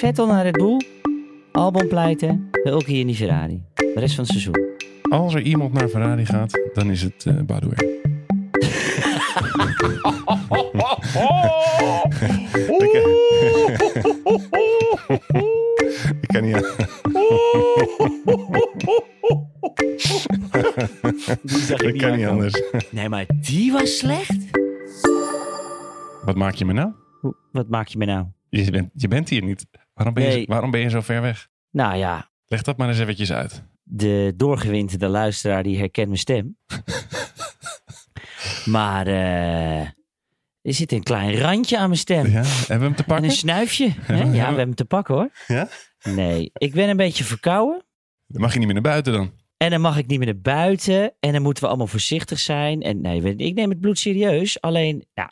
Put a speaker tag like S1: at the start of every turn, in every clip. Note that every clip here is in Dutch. S1: Vettel naar Red Bull. Albon pleiten. Hulkie in die Ferrari. De rest van het seizoen.
S2: Als er iemand naar Ferrari gaat, dan is het eh Badouer. Ik kan niet aan.
S1: Die zag
S2: Ik kan niet anders.
S1: Nee, maar die was slecht.
S2: Wat maak je me nou?
S1: Hoe- Wat maak je me nou?
S2: Je bent, je bent hier niet. Waarom ben,
S1: Nee.
S2: je, waarom ben je zo ver weg?
S1: Nou ja,
S2: Leg dat maar eens eventjes uit.
S1: de doorgewinterde luisteraar die herkent mijn stem. maar eh, er zit een klein randje aan mijn stem.
S2: Ja, hebben we hem te
S1: En een
S2: pakken?
S1: snuifje. Hè? Ja, we hebben hem te pakken hoor.
S2: Ja?
S1: Nee, ik ben een beetje verkouden.
S2: Dan mag je niet meer naar buiten dan.
S1: En dan mag ik niet meer naar buiten. En dan moeten we allemaal voorzichtig zijn. En nee, weet- ik neem het bloed serieus. Alleen, nou,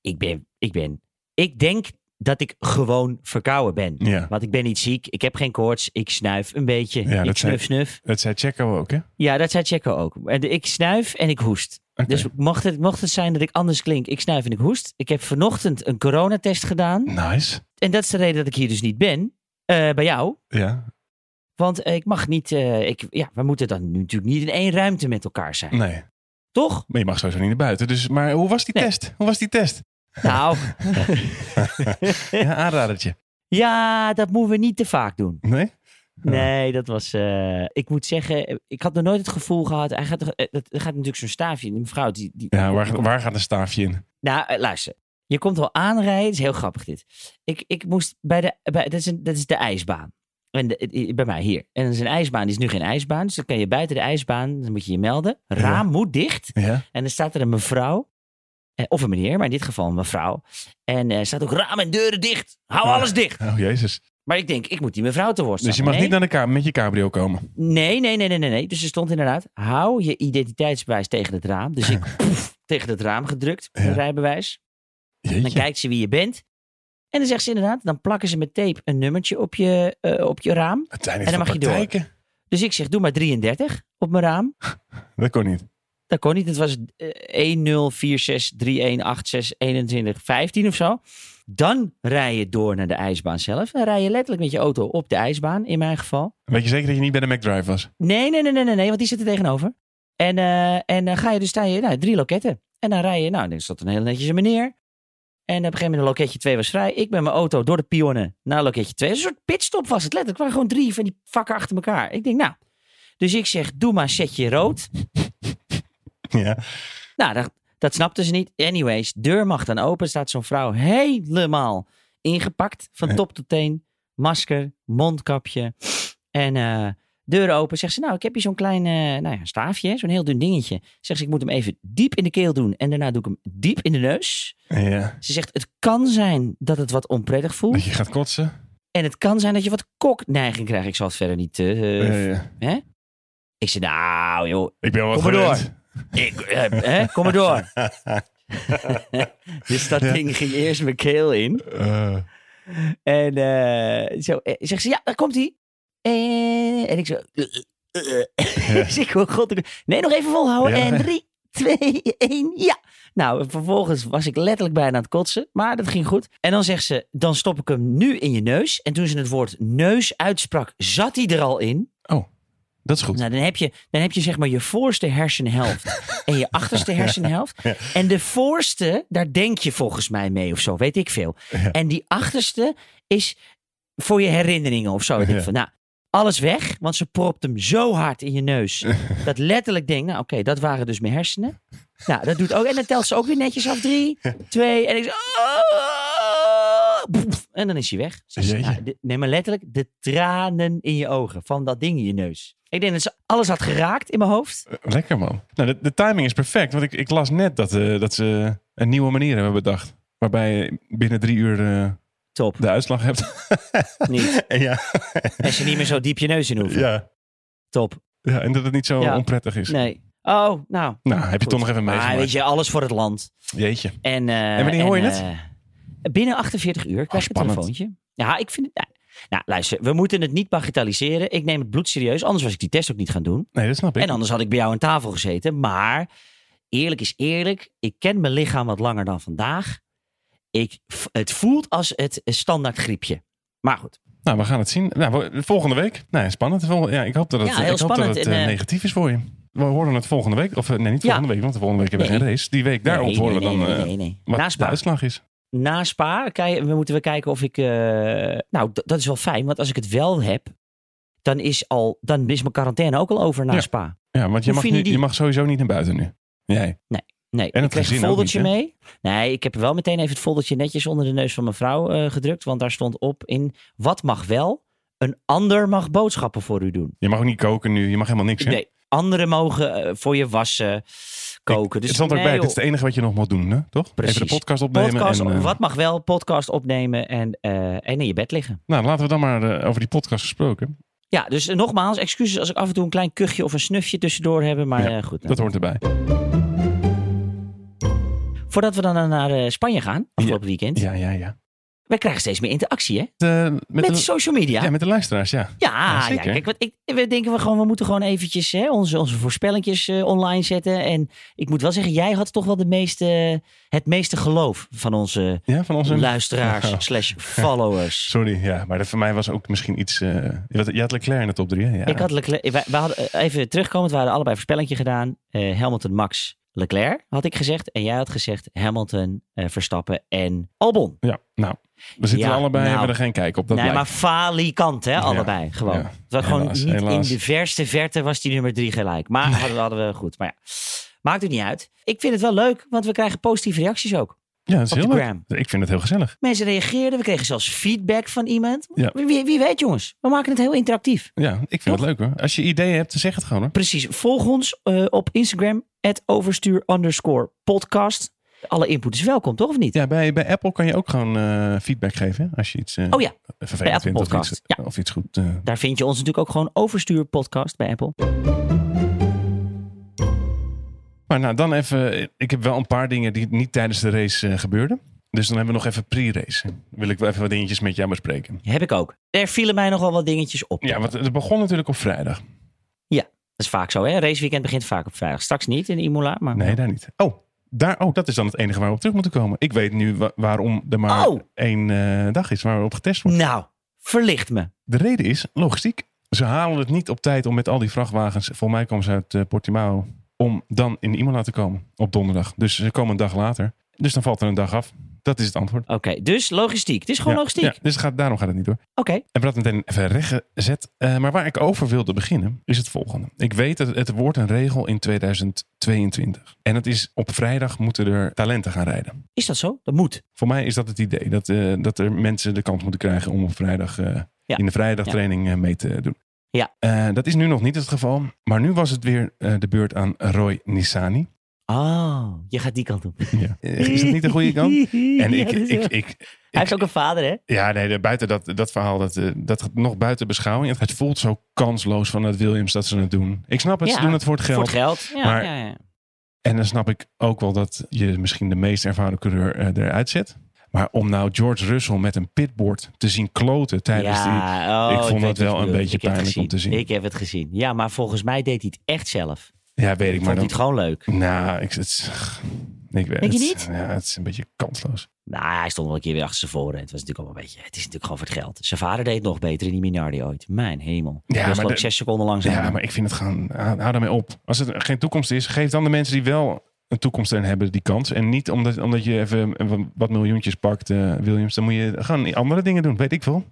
S1: ik ben, ik ben, ik denk dat ik gewoon verkouden ben.
S2: Ja,
S1: Want ik ben niet ziek, ik heb geen koorts, ik snuif een beetje.
S2: Ja,
S1: ik
S2: dat zei-
S1: snuf, snuf.
S2: dat zei Checo ook, hè? Oké.
S1: Ja, dat zei Checo ook. En de- Ik snuif en ik hoest. Dus mocht het, mocht het zijn dat ik anders klink, ik snuif en ik hoest. Ik heb vanochtend een coronatest gedaan.
S2: Nice.
S1: En dat is de reden dat ik hier dus niet ben. eh, bij jou.
S2: Ja,
S1: Want eh, ik mag niet. eh, ik, ja, we moeten dan nu natuurlijk niet in één ruimte met elkaar zijn.
S2: nee.
S1: Toch?
S2: Maar je mag sowieso niet naar buiten. Dus, maar hoe was die
S1: Nee.
S2: test? Hoe was die test?
S1: Nou,
S2: Ja, aanradertje.
S1: ja, dat moeten we niet te vaak doen.
S2: Nee?
S1: Nee, dat was. eh, ik moet zeggen, ik had nog nooit het gevoel gehad. Hij gaat, toch- eh, dat, er gaat natuurlijk zo'n staafje in. Die mevrouw, die. die
S2: Ja, waar, waar gaat een staafje in?
S1: Nou, eh, luister. Je komt al aanrijden. Het is heel grappig dit. Ik, ik moest bij de... Bij, dat, is een, dat is de ijsbaan. En de- i- bij mij hier. En dat is een ijsbaan. Die is nu geen ijsbaan. Dus dan kan je buiten de ijsbaan... Dan moet je je melden. Raam moet dicht.
S2: Ja?
S1: En dan staat er een mevrouw. eh, of een meneer, maar in dit geval een mevrouw. En eh staat ook raam en deuren dicht. Hou
S2: Ja.
S1: alles dicht.
S2: Oh, jezus.
S1: Maar ik denk, ik moet die mevrouw te woord staan.
S2: Dus je mag
S1: nee,
S2: niet naar de ka- met je cabrio komen.
S1: Nee, nee, nee, nee, nee, nee. Dus er stond inderdaad, hou je identiteitsbewijs tegen het raam. Dus ik poef, tegen het raam gedrukt, mijn
S2: Ja.
S1: rijbewijs. Dan
S2: Jeetje.
S1: kijkt ze wie je bent. En dan zegt ze inderdaad, dan plakken ze met tape een nummertje op je, eh, op je raam.
S2: Het zijn
S1: En dan
S2: van
S1: mag je door.
S2: praktijken.
S1: Dus ik zeg, doe maar 33 op mijn raam.
S2: Dat kon niet.
S1: Dat kon niet, het was eh, 104631862115 of zo. Dan rij je door naar de ijsbaan zelf. Dan rij je letterlijk met je auto op de ijsbaan, in mijn geval.
S2: Weet je zeker dat je niet bij de McDrive was?
S1: Nee, nee, nee, nee, nee, nee, want die zitten tegenover. En, eh, en dan ga je dus, sta je, nou, drie loketten. En dan rij je, nou, dan zat een hele netjes meneer. En op een gegeven moment, loketje 2 was vrij. Ik ben mijn auto door de pionnen naar loketje 2. Een soort pitstop was het, letterlijk. Het waren gewoon drie van die vakken achter elkaar. Ik denk, nou, dus ik zeg, doe maar setje rood.
S2: Ja.
S1: Nou, dat, dat snapten ze niet. Anyways, deur mag dan open. Staat zo'n vrouw helemaal ingepakt. Van
S2: Ja.
S1: top tot teen. Masker, mondkapje. En eh, deur open. Zegt ze, nou, ik heb hier zo'n klein eh, nou ja, staafje. hè, Zo'n heel dun dingetje. Zegt ze, ik moet hem even diep in de keel doen. En daarna doe ik hem diep in de neus.
S2: Ja.
S1: Ze zegt, het kan zijn dat het wat onprettig
S2: Dat
S1: voelt.
S2: je gaat kotsen.
S1: En het kan zijn dat je wat kokneiging krijgt. Ik zal het verder niet... eh,
S2: Ja, ja.
S1: Ik zei, nou joh,
S2: Ik ben wel wat
S1: Kom maar door.
S2: gewend.
S1: ik, eh, hè, kom maar door. dus dat
S2: Ja.
S1: ding ging eerst mijn keel in.
S2: Eh,
S1: En eh, zo eh, zegt ze, ja, daar komt hij. En, en ik zo... eh, eh, eh.
S2: Ja.
S1: Dus ik hoor God, ik- nee, nog even volhouden.
S2: Ja.
S1: En drie, twee, één, ja. Nou, en vervolgens was ik letterlijk bijna aan het kotsen. Maar dat ging goed. En dan zegt ze, dan stop ik hem nu in je neus. En toen ze het woord neus uitsprak, zat hij er al in.
S2: dat is goed.
S1: Nou, dan heb je, dan heb je zeg maar je voorste hersenhelft en je achterste hersenhelft. En de voorste, daar denk je volgens mij mee of zo, weet ik veel.
S2: Ja.
S1: En die achterste is voor je herinneringen of zo. Weet ik
S2: Ja.
S1: veel. Nou, alles weg, want ze propt hem zo hard in je neus. Dat letterlijk denk, nou oké, dat waren dus mijn hersenen. Nou, dat doet ook. En dan telt ze ook weer netjes af. Drie, twee. En ik zo, Boef, en dan is hij weg. Dus,
S2: Jeetje.
S1: nou, de- nee, maar letterlijk de tranen in je ogen van dat ding in je neus. Ik denk dat ze alles had geraakt in mijn hoofd.
S2: Lekker man. Nou, de, de timing is perfect. Want ik, ik las net dat, eh, dat ze een nieuwe manier hebben bedacht. Waarbij je binnen drie uur eh,
S1: Top.
S2: de uitslag hebt.
S1: Niet.
S2: En ja,
S1: En ze niet meer zo diep je neus in hoeven.
S2: ja,
S1: Top.
S2: ja, en dat het niet zo
S1: Ja.
S2: onprettig is.
S1: Nee. Oh, nou.
S2: Nou, heb je
S1: Goed.
S2: toch nog even
S1: Maar
S2: meegemaakt.
S1: weet je, alles voor het land.
S2: Jeetje.
S1: En, eh,
S2: En wanneer hoor je het?
S1: eh, binnen 48 uur krijg je een
S2: spannend.
S1: telefoontje. Ja, ik vind het... Nou, nou, luister, we moeten het niet bagatelliseren. Ik neem het bloed serieus, anders was ik die test ook niet gaan doen.
S2: Nee, dat snap ik.
S1: En anders had ik bij jou aan tafel gezeten. Maar eerlijk is eerlijk. Ik ken mijn lichaam wat langer dan vandaag. Ik, v- het voelt als het een standaard griepje. Maar goed,
S2: Nou, we gaan het zien. Nou, we- volgende week. Nee, spannend. Vol- Ja, ik hoop dat het,
S1: Ja, heel
S2: ik hoop dat
S1: spannend.
S2: het
S1: En,
S2: eh,
S1: eh,
S2: negatief is voor je. We horen het volgende week. Of eh, nee, niet
S1: Ja.
S2: volgende week, want de volgende week hebben we
S1: Nee.
S2: geen race. Die week daarop
S1: nee,
S2: horen
S1: nee,
S2: we dan
S1: nee,
S2: eh,
S1: nee, nee.
S2: wat
S1: Na
S2: de
S1: Spa.
S2: uitslag is.
S1: Na Spa kei- we moeten we kijken of ik... eh, nou, d- dat is wel fijn. Want als ik het wel heb, dan is, al, dan is mijn quarantaine ook al over na
S2: Ja.
S1: Spa.
S2: Ja, want je
S1: Hoe
S2: mag,
S1: vinden
S2: nu-
S1: die-
S2: je mag sowieso niet naar buiten nu. Jij.
S1: Nee,
S2: En
S1: ik
S2: het
S1: kreeg een
S2: gezin ook
S1: foldertje
S2: niet,
S1: mee. Nee, ik heb wel meteen even het foldertje netjes onder de neus van mijn vrouw eh, gedrukt. Want daar stond op in, wat mag wel? Een ander mag boodschappen voor u doen.
S2: Je mag ook niet koken nu. Je mag helemaal niks. Hè?
S1: Nee, anderen mogen eh, voor je wassen, koken. dus
S2: het stond ook
S1: nee,
S2: bij.
S1: joh.
S2: Dit is het enige wat je nog mag doen, hè? toch?
S1: Precies.
S2: Even de podcast opnemen.
S1: podcast,
S2: en, eh,
S1: wat mag wel, podcast opnemen en, eh, en in je bed liggen.
S2: Nou, laten we dan maar eh, over die podcast gesproken.
S1: Ja, dus eh, nogmaals, excuses als ik af en toe een klein kuchje of een snufje tussendoor heb. Maar
S2: Ja,
S1: eh, goed,
S2: Dat hoort erbij.
S1: voordat we dan eh, naar eh, Spanje gaan, afgelopen weekend.
S2: Ja, ja, ja.
S1: Wij krijgen steeds meer interactie, hè?
S2: Eh,
S1: Met,
S2: de,
S1: social media.
S2: ja, met de luisteraars, ja. Ja,
S1: Ja, ja,
S2: zeker.
S1: kijk, wat ik, we denken we gewoon, we moeten gewoon eventjes hè, onze, onze voorspellingjes eh, online zetten. En ik moet wel zeggen, jij had toch wel de meeste, het meeste geloof van onze
S2: ja van onze
S1: luisteraars
S2: Nou.
S1: slash followers.
S2: Sorry, ja, maar dat voor mij was ook misschien iets. eh, je had- je had Leclerc in de top 3, hè? Ja.
S1: Ik had Leclerc, wij, wij hadden, eh, even terugkomend, we hadden allebei een voorspellingje gedaan. Eh, Hamilton, Max, Leclerc had ik gezegd. En jij had gezegd Hamilton, eh, Verstappen en Albon.
S2: Ja, nou, we zitten
S1: Ja,
S2: allebei,
S1: nou.
S2: hebben er geen kijk op. Dat
S1: nee, maar
S2: blijkt.
S1: falikant hè, allebei gewoon.
S2: ja.
S1: Het was gewoon
S2: Helaas,
S1: niet
S2: helaas.
S1: in de verste verte was die nummer drie gelijk. Maar hadden, we- hadden we goed. Maar ja, maakt het niet uit. Ik vind het wel leuk, want we krijgen positieve reacties ook.
S2: ja, dat is
S1: op
S2: heel
S1: de
S2: leuk.
S1: gram.
S2: Ik vind het heel gezellig.
S1: Mensen reageerden, we kregen zelfs feedback van iemand.
S2: Ja.
S1: Wie, wie weet jongens, we maken het heel interactief.
S2: Ja, ik vind het leuk hoor. Als je ideeën hebt, zeg het gewoon hoor.
S1: Precies, volg ons eh, op Instagram, overstuur underscore podcast. Alle input is welkom, toch of niet?
S2: Ja, bij, bij Apple kan je ook gewoon eh, feedback geven hè, als je iets eh,
S1: Oh ja, bij
S2: vervelend
S1: Apple
S2: vindt of iets,
S1: Podcast, ja.
S2: of iets goed. eh,
S1: daar vind je ons natuurlijk ook gewoon overstuur podcast bij Apple.
S2: Maar nou, dan even. Ik heb wel een paar dingen die niet tijdens de race eh, gebeurden. Dus dan hebben we nog even pre-race. Dan Wil ik wel even wat dingetjes met jou bespreken.
S1: Heb ik ook. Er vielen mij nogal wat dingetjes op.
S2: Ja, want het begon natuurlijk op vrijdag.
S1: Dat is vaak zo, hè? Raceweekend begint vaak op vrijdag. Straks niet in Imola, maar...
S2: Nee, daar niet. Oh, daar, oh, dat is dan het enige waar we op terug moeten komen. Ik weet nu wa- waarom er maar
S1: Oh.
S2: één eh, dag is waar we op getest worden.
S1: Nou, verlicht me.
S2: De reden is logistiek. Ze halen het niet op tijd om met al die vrachtwagens. Voor mij komen ze uit eh, Portimao. Om dan in Imola te komen op donderdag. Dus ze komen een dag later. Dus dan valt er een dag af. Dat is het antwoord.
S1: Oké, dus logistiek. Het is gewoon
S2: Ja,
S1: logistiek.
S2: ja, dus het gaat, daarom gaat het niet door.
S1: Oké.
S2: En we hadden het meteen even rechtgezet. Eh maar waar ik over wilde beginnen is het volgende. Ik weet dat het wordt een regel in 2022. En dat is op vrijdag moeten er talenten gaan rijden.
S1: Is dat zo? Dat moet.
S2: Voor mij is dat het idee. Dat, eh, dat er mensen de kans moeten krijgen om op vrijdag eh,
S1: Ja.
S2: in de vrijdagtraining eh, mee te doen.
S1: Ja.
S2: Eh, dat is nu nog niet het geval. Maar nu was het weer eh, de beurt aan Roy Nissani.
S1: Oh, je gaat die kant op.
S2: Eh, Is dat niet de goede kant? En ik, ik, ik,
S1: Hij heeft ook een vader, hè?
S2: Ja, nee, de- buiten dat, dat verhaal, dat, eh, dat gaat nog buiten beschouwing. Het voelt zo kansloos van het Williams dat ze het doen. Ik snap het, ze
S1: Ja,
S2: doen het voor het geld.
S1: Voor het geld. Ja,
S2: Maar-
S1: ja, ja.
S2: En dan snap ik ook wel dat je misschien de meest ervaren coureur eh, eruit zet. Maar om nou George Russell met een pitboard te zien kloten tijdens die...
S1: Ja, oh,
S2: ik vond
S1: weet
S2: dat
S1: wat je
S2: wel een
S1: bedoelt.
S2: beetje
S1: Ik heb het
S2: pijnlijk om te
S1: gezien.
S2: zien.
S1: Ik heb het gezien. Ja, maar volgens mij deed hij het echt zelf.
S2: Ja, weet ik,
S1: Ik vond
S2: maar dan...
S1: hij het gewoon leuk.
S2: Nou, ik... Het, is- ik weet,
S1: Denk je
S2: het-
S1: niet?
S2: Ja, het is een beetje kansloos.
S1: Nou, hij stond wel een keer weer achter zijn voren. Het was natuurlijk allemaal een beetje. Het is natuurlijk gewoon voor het geld. Zijn vader deed het nog beter in die Minardi ooit. Mijn hemel.
S2: Ja,
S1: Ja,
S2: maar
S1: was maar
S2: de-
S1: zes seconden langzaam.
S2: Ja, maar ik vind het gewoon... Hou hou daarmee op. Als het geen toekomst is, geef dan de mensen die wel een toekomst erin hebben die kans. En niet omdat, omdat je even wat- wat miljoentjes pakt, eh, Williams. Dan moet je gewoon andere dingen doen, weet ik veel.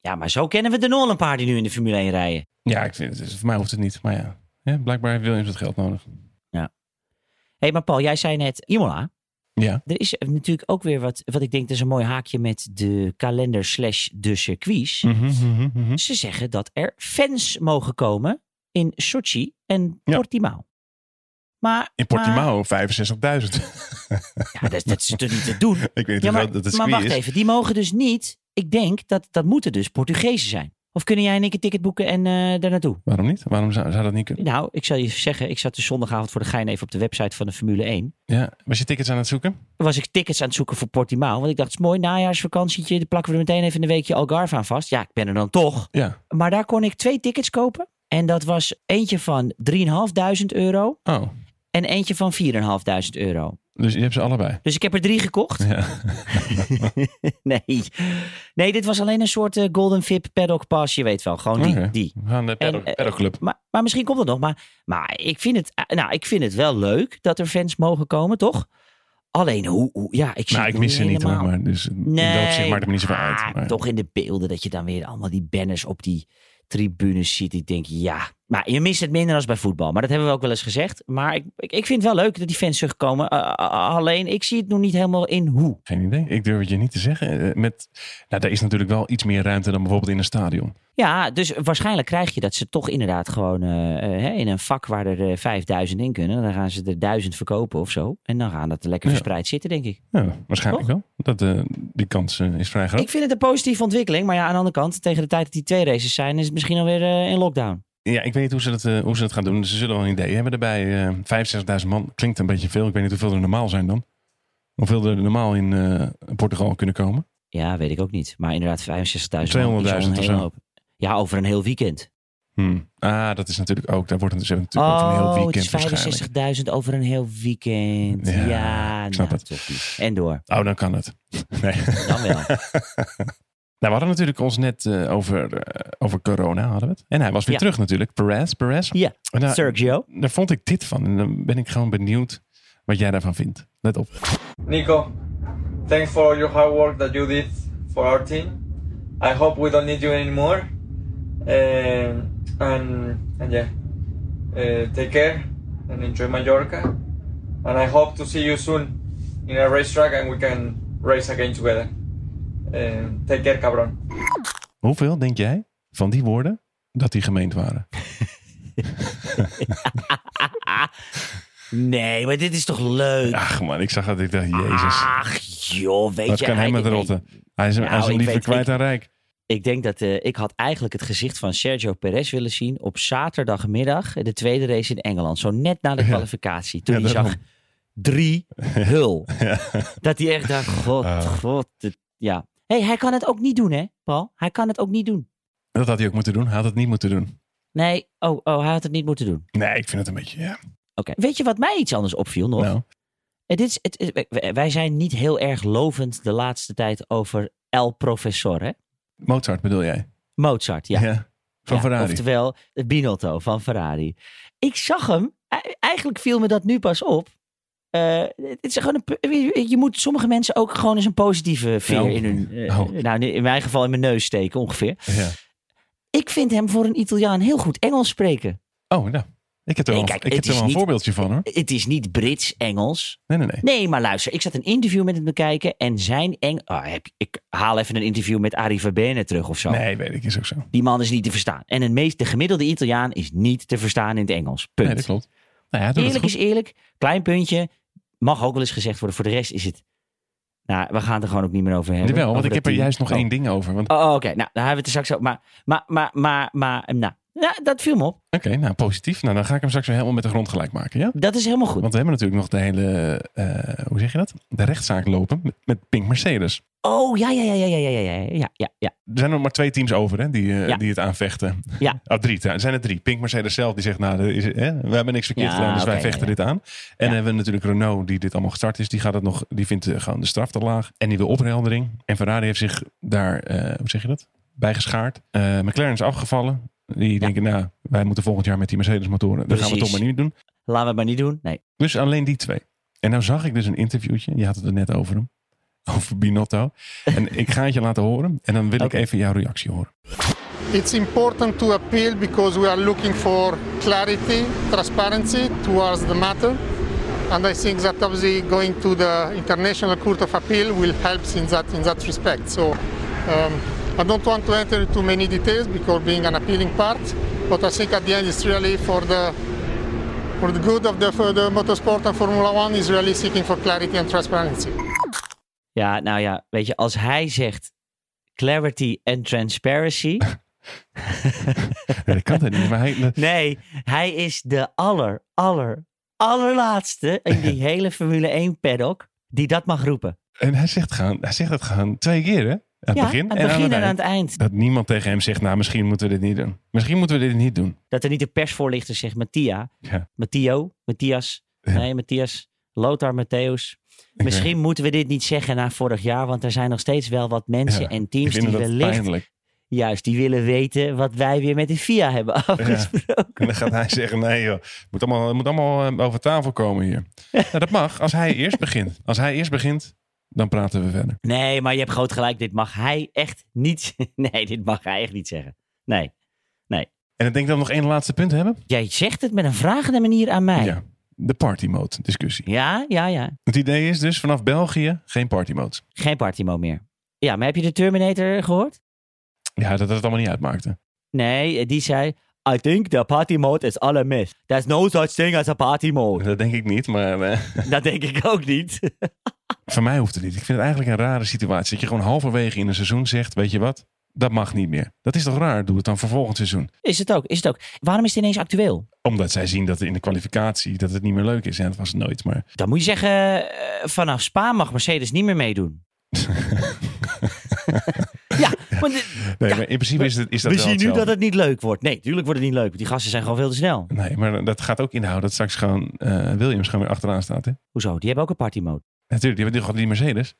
S1: Ja, maar zo kennen we de Nolan paar die nu in de Formule 1 rijden.
S2: Ja, ik vind het, voor mij hoeft het niet. Maar ja, ja blijkbaar heeft Williams het geld nodig.
S1: Hé, hey, maar Paul, jij zei net Imola.
S2: Ja.
S1: Er is natuurlijk ook weer wat, wat ik denk, dat is een mooi haakje met de kalender slash de circuits.
S2: Mhm.
S1: Ze zeggen dat er fans mogen komen in Sochi en
S2: Ja.
S1: Portimao. Maar,
S2: In
S1: maar-
S2: Portimao 65.000.
S1: ja, dat, dat is toch niet te doen?
S2: ik weet niet
S1: Ja,
S2: hoe
S1: maar,
S2: groot dat het
S1: maar
S2: circuit
S1: wacht
S2: is.
S1: even, die mogen dus niet. Ik denk dat dat moeten dus Portugezen zijn. Of kunnen jij en ik een ticket boeken en eh daar naartoe?
S2: Waarom niet? Waarom zou, zou dat niet kunnen?
S1: Nou, ik zal je zeggen, ik zat dus zondagavond voor de gein even op de website van de Formule 1.
S2: Ja. Was je tickets aan het zoeken?
S1: Toen was ik tickets aan het zoeken voor Portimao. Want ik dacht, het is mooi, najaarsvakantietje. Dan plakken we er meteen even een weekje Algarve aan vast. Ja, ik ben er dan toch.
S2: Ja.
S1: Maar daar kon ik twee tickets kopen. En dat was eentje van 3.500 euro
S2: Oh.
S1: en eentje van 4.500 euro.
S2: Dus je hebt ze allebei.
S1: Dus ik heb er drie gekocht.
S2: Ja.
S1: nee. nee, dit was alleen een soort eh, Golden VIP paddock pass. Je weet wel, gewoon die.
S2: Oké.
S1: die.
S2: We gaan de
S1: En, eh,
S2: paddock- paddockclub.
S1: Maar, maar misschien komt dat nog. Maar, maar ik, vind het, eh, nou, ik vind het wel leuk dat er fans mogen komen, toch? Alleen, hoe, hoe ja, ik zie
S2: Nou,
S1: het
S2: ik mis ze
S1: niet
S2: niet hoor,
S1: helemaal.
S2: maar dus in dat opzicht maakt het me niet zoveel uit.
S1: maar
S2: Maar,
S1: Toch in de beelden dat je dan weer allemaal die banners op die tribunes ziet. Ik denk, ja. Maar je mist het minder als bij voetbal. Maar dat hebben we ook wel eens gezegd. Maar ik, ik, ik vind het wel leuk dat die fans terugkomen. Eh, eh, alleen, ik zie het nog niet helemaal in hoe.
S2: Geen idee. Ik durf het je niet te zeggen. Eh, Met, nou, daar is natuurlijk wel iets meer ruimte dan bijvoorbeeld in een stadion.
S1: Ja, dus waarschijnlijk krijg je dat ze toch inderdaad gewoon eh, eh, hè, in een vak waar er eh, 5000 in kunnen. Dan gaan ze er 1000 verkopen of zo. En dan gaan dat lekker
S2: Ja.
S1: verspreid zitten, denk ik.
S2: Ja, waarschijnlijk
S1: Oh.
S2: wel. Dat, eh, die kans eh, is vrij groot.
S1: Ik vind het een positieve ontwikkeling. Maar ja, aan de andere kant, tegen de tijd dat die twee races zijn, is het misschien alweer eh, in lockdown.
S2: Ja, ik weet niet hoe ze dat, eh, hoe ze dat gaan doen. Ze zullen wel een idee hebben daarbij. eh 65.000 man klinkt een beetje veel. Ik weet niet hoeveel er normaal zijn dan. Hoeveel er normaal in eh, Portugal kunnen komen.
S1: Ja, weet ik ook niet. Maar inderdaad, 65.000. man, iets van een
S2: 200.000 of
S1: hele
S2: zo.
S1: hoop. Ja, over een heel weekend.
S2: Hm. Ah, dat is natuurlijk ook. Daar wordt het, ze hebben natuurlijk over een
S1: oh, het
S2: heel weekend waarschijnlijk.
S1: is 65.000 over een heel weekend. Ja,
S2: Ja, ik snap
S1: nou,
S2: het.
S1: toch niet. En door.
S2: Oh, dan kan het. Nee.
S1: Dan wel.
S2: Nou, we hadden natuurlijk ons net eh, over, eh, over corona, hadden we het. En hij was weer
S1: Ja.
S2: terug natuurlijk. Perez, Perez.
S1: Ja,
S2: En daar-
S1: Sergio.
S2: daar vond ik dit van. En dan ben ik gewoon benieuwd wat jij daarvan vindt. Let op.
S3: Nico, thanks for all your hard work that you did for our team. I hope we don't need you anymore. Um, and, and yeah, uh, take care and enjoy Mallorca. And I hope to see you soon in a racetrack and we can race again together. Um, take care, cabron.
S2: Hoeveel denk jij van die woorden dat die gemeend waren?
S1: Nee, maar dit is toch leuk?
S2: Ach man, ik zag dat. Ik dacht, jezus.
S1: Ach joh, weet
S2: Dat
S1: je...
S2: kan
S1: hij-
S2: hem met
S1: ik-
S2: rotten. Hij is, hij is
S1: Nou, ik
S2: liever
S1: weet-
S2: kwijt
S1: ik-
S2: aan Rijk.
S1: Ik denk dat eh, ik had eigenlijk het gezicht van Sergio Perez willen zien op zaterdagmiddag, de tweede race in Engeland, zo net na de kwalificatie. Toen
S2: Ja,
S1: hij zag
S2: daarom.
S1: drie hul.
S2: Ja.
S1: Dat hij echt dacht, god,
S2: Ah.
S1: god. dit- ja. hey, hij kan het ook niet doen hè, Paul? Hij kan het ook niet doen.
S2: Dat had hij ook moeten doen. Hij had het niet moeten doen.
S1: Nee, oh, oh hij had het niet moeten doen.
S2: Nee, ik vind het een beetje, ja.
S1: Oké. Weet je wat mij iets anders opviel nog?
S2: Nou,
S1: Eh, Dit is, het, is- wij- wij zijn niet heel erg lovend de laatste tijd over El Professor, hè?
S2: Mozart bedoel jij?
S1: Mozart, ja.
S2: Van
S1: Ja,
S2: Ferrari.
S1: Oftewel, het Binotto van Ferrari. Ik zag hem, e- eigenlijk viel me dat nu pas op. Eh, het is gewoon een, p- je- je moet sommige mensen ook gewoon eens een positieve veer
S2: Oh.
S1: in hun... eh,
S2: Oh.
S1: Nou, nu- in mijn geval in mijn neus steken ongeveer.
S2: Ja.
S1: Ik vind hem voor een Italiaan heel goed Engels spreken.
S2: Oh, nou. Ik heb er
S1: Nee,
S2: wel,
S1: kijk,
S2: ik heb
S1: het
S2: er
S1: is
S2: wel een
S1: niet-
S2: voorbeeldje van hoor.
S1: Het is niet Brits-Engels.
S2: Nee, nee, nee.
S1: Nee, maar luister, ik zat een interview met hem bekijken en zijn Eng... Ah, heb, ik haal even een interview met Arie Verbene terug of zo.
S2: Nee, weet ik, is ook zo.
S1: Die man is niet te verstaan. En een meest, de gemiddelde Italiaan is niet te verstaan in het Engels. Punt.
S2: Nee, dat klopt. Nou ja, hij doet het
S1: Eerlijk is eerlijk. Klein puntje. Mag ook wel eens gezegd worden. Voor de rest is het... Nou, we gaan het er gewoon ook niet meer over
S2: goed.
S1: hebben.
S2: Jawel, want
S1: Over
S2: ik
S1: dat
S2: heb er
S1: team.
S2: juist nog
S1: Oh.
S2: één ding over. Want,
S1: Oh, oké. Nou, daar hebben we het er straks over. Maar, maar, maar, maar, maar, nou. nou, dat viel me op.
S2: Oké, nou positief. Nou, dan ga ik hem straks weer helemaal met de grond gelijk maken, ja?
S1: Dat is helemaal goed.
S2: Want we hebben natuurlijk nog de hele, eh, hoe zeg je dat? De rechtszaak lopen met, met Pink Mercedes.
S1: Oh, ja, ja, ja, ja, ja, ja, ja, ja, ja, ja.
S2: Er zijn er maar twee teams over hè, die, eh,
S1: Ja.
S2: die het aanvechten.
S1: Ja.
S2: Oh, drie. trouw- Er zijn er drie. Pink Mercedes zelf die zegt, nou, er is, hè, we hebben niks verkeerd
S1: Ja,
S2: gedaan, dus wij
S1: oké,
S2: vechten
S1: ja,
S2: dit aan. En dan hebben we natuurlijk Renault die dit allemaal gestart is. Die, gaat het nog, die vindt eh, gewoon de straf te laag. En die wil opheldering. En Ferrari heeft zich daar, eh, hoe zeg je dat? Bij geschaard. Eh, McLaren is afgevallen. Die denken, nou, wij moeten volgend jaar met die Mercedes motoren. Dat gaan we
S1: Precies.
S2: toch maar niet doen.
S1: Laten we het maar niet doen. Nee.
S2: Dus alleen die twee. En nou zag ik dus een interviewtje. Je had het er net over hem. Over Binotto. En ik ga het je laten horen. En dan wil
S1: Oké.
S2: ik even jouw reactie horen.
S4: It's important to appeal because we are looking for clarity, transparency towards the matter. And I think that obviously going to the International Court of Appeal will help in that, in that respect. So um, I don't want to enter into many details because being an appealing part, but I think at the end it's really for the, for the good of the, for the motorsport and Formula One is really seeking for clarity and transparency.
S1: Ja, nou ja, weet je, als hij zegt clarity en transparency.
S2: Nee, dat kan het niet. Maar hij,
S1: Nee, hij is de aller, aller, allerlaatste in die hele Formule 1 paddock die dat mag roepen.
S2: en hij zegt, gewoon, hij zegt het gewoon twee keer, hè? Aan het
S1: ja,
S2: begin,
S1: aan het begin en aan
S2: eind.
S1: het eind.
S2: Dat niemand tegen hem zegt, nou, misschien moeten we dit niet doen. Misschien moeten we dit niet doen.
S1: Dat er niet de persvoorlichter zegt, dus Mattia,
S2: Ja.
S1: Mattio, Matthias, Nee, Matthias. Lothar Matthäus. Misschien moeten we dit niet zeggen na vorig jaar, want er zijn nog steeds wel wat mensen
S2: Ja,
S1: en
S2: Ik
S1: teams
S2: vind
S1: die
S2: dat
S1: wellicht
S2: pijnlijk.
S1: juist die willen weten wat wij weer met de VIA hebben afgesproken.
S2: En dan gaat hij zeggen, nee joh, het moet allemaal, het moet allemaal eh, over tafel komen hier. nou, dat mag, als hij eerst begint. Als hij eerst begint, dan praten we verder.
S1: Nee, maar je hebt groot gelijk. Dit mag hij echt niet. Nee, dit mag hij echt niet zeggen. Nee.
S2: En ik denk dat we nog één laatste punt hebben.
S1: Jij zegt het met een vragende manier aan mij.
S2: Ja, de party mode discussie.
S1: ja, ja. ja.
S2: Het idee is dus vanaf België geen party mode.
S1: Geen partimo meer. Ja, maar heb je de Terminator gehoord?
S2: Ja, dat, dat het allemaal niet uitmaakte.
S1: Nee, eh, die zei... I think the party mode is all a myth. There's no such thing as a party mode.
S2: Dat denk ik niet, maar eh,
S1: Dat denk ik ook niet.
S2: voor mij hoeft het niet. Ik vind het eigenlijk een rare situatie. Dat je gewoon halverwege in een seizoen zegt, weet je wat, dat mag niet meer. Dat is toch raar? Doe het dan voor volgend seizoen.
S1: Is het ook, is het ook. Waarom is het ineens actueel?
S2: Omdat zij zien dat in de kwalificatie dat het niet meer leuk is. En dat was het nooit, maar
S1: Dan moet je zeggen... eh, vanaf Spa mag Mercedes niet meer meedoen. ja, maar de-
S2: Nee,
S1: Ja,
S2: maar in principe is, het, is dat
S1: we
S2: wel
S1: zien nu dat
S2: hetzelfde.
S1: het niet leuk wordt. Nee, natuurlijk wordt het niet leuk. Want die gasten zijn gewoon veel te snel.
S2: Nee, maar dat gaat ook inhouden dat straks gewoon eh, Williams gewoon weer achteraan staat. Hè?
S1: Hoezo? Die hebben ook een party mode.
S2: Natuurlijk, die hebben toch al die Mercedes.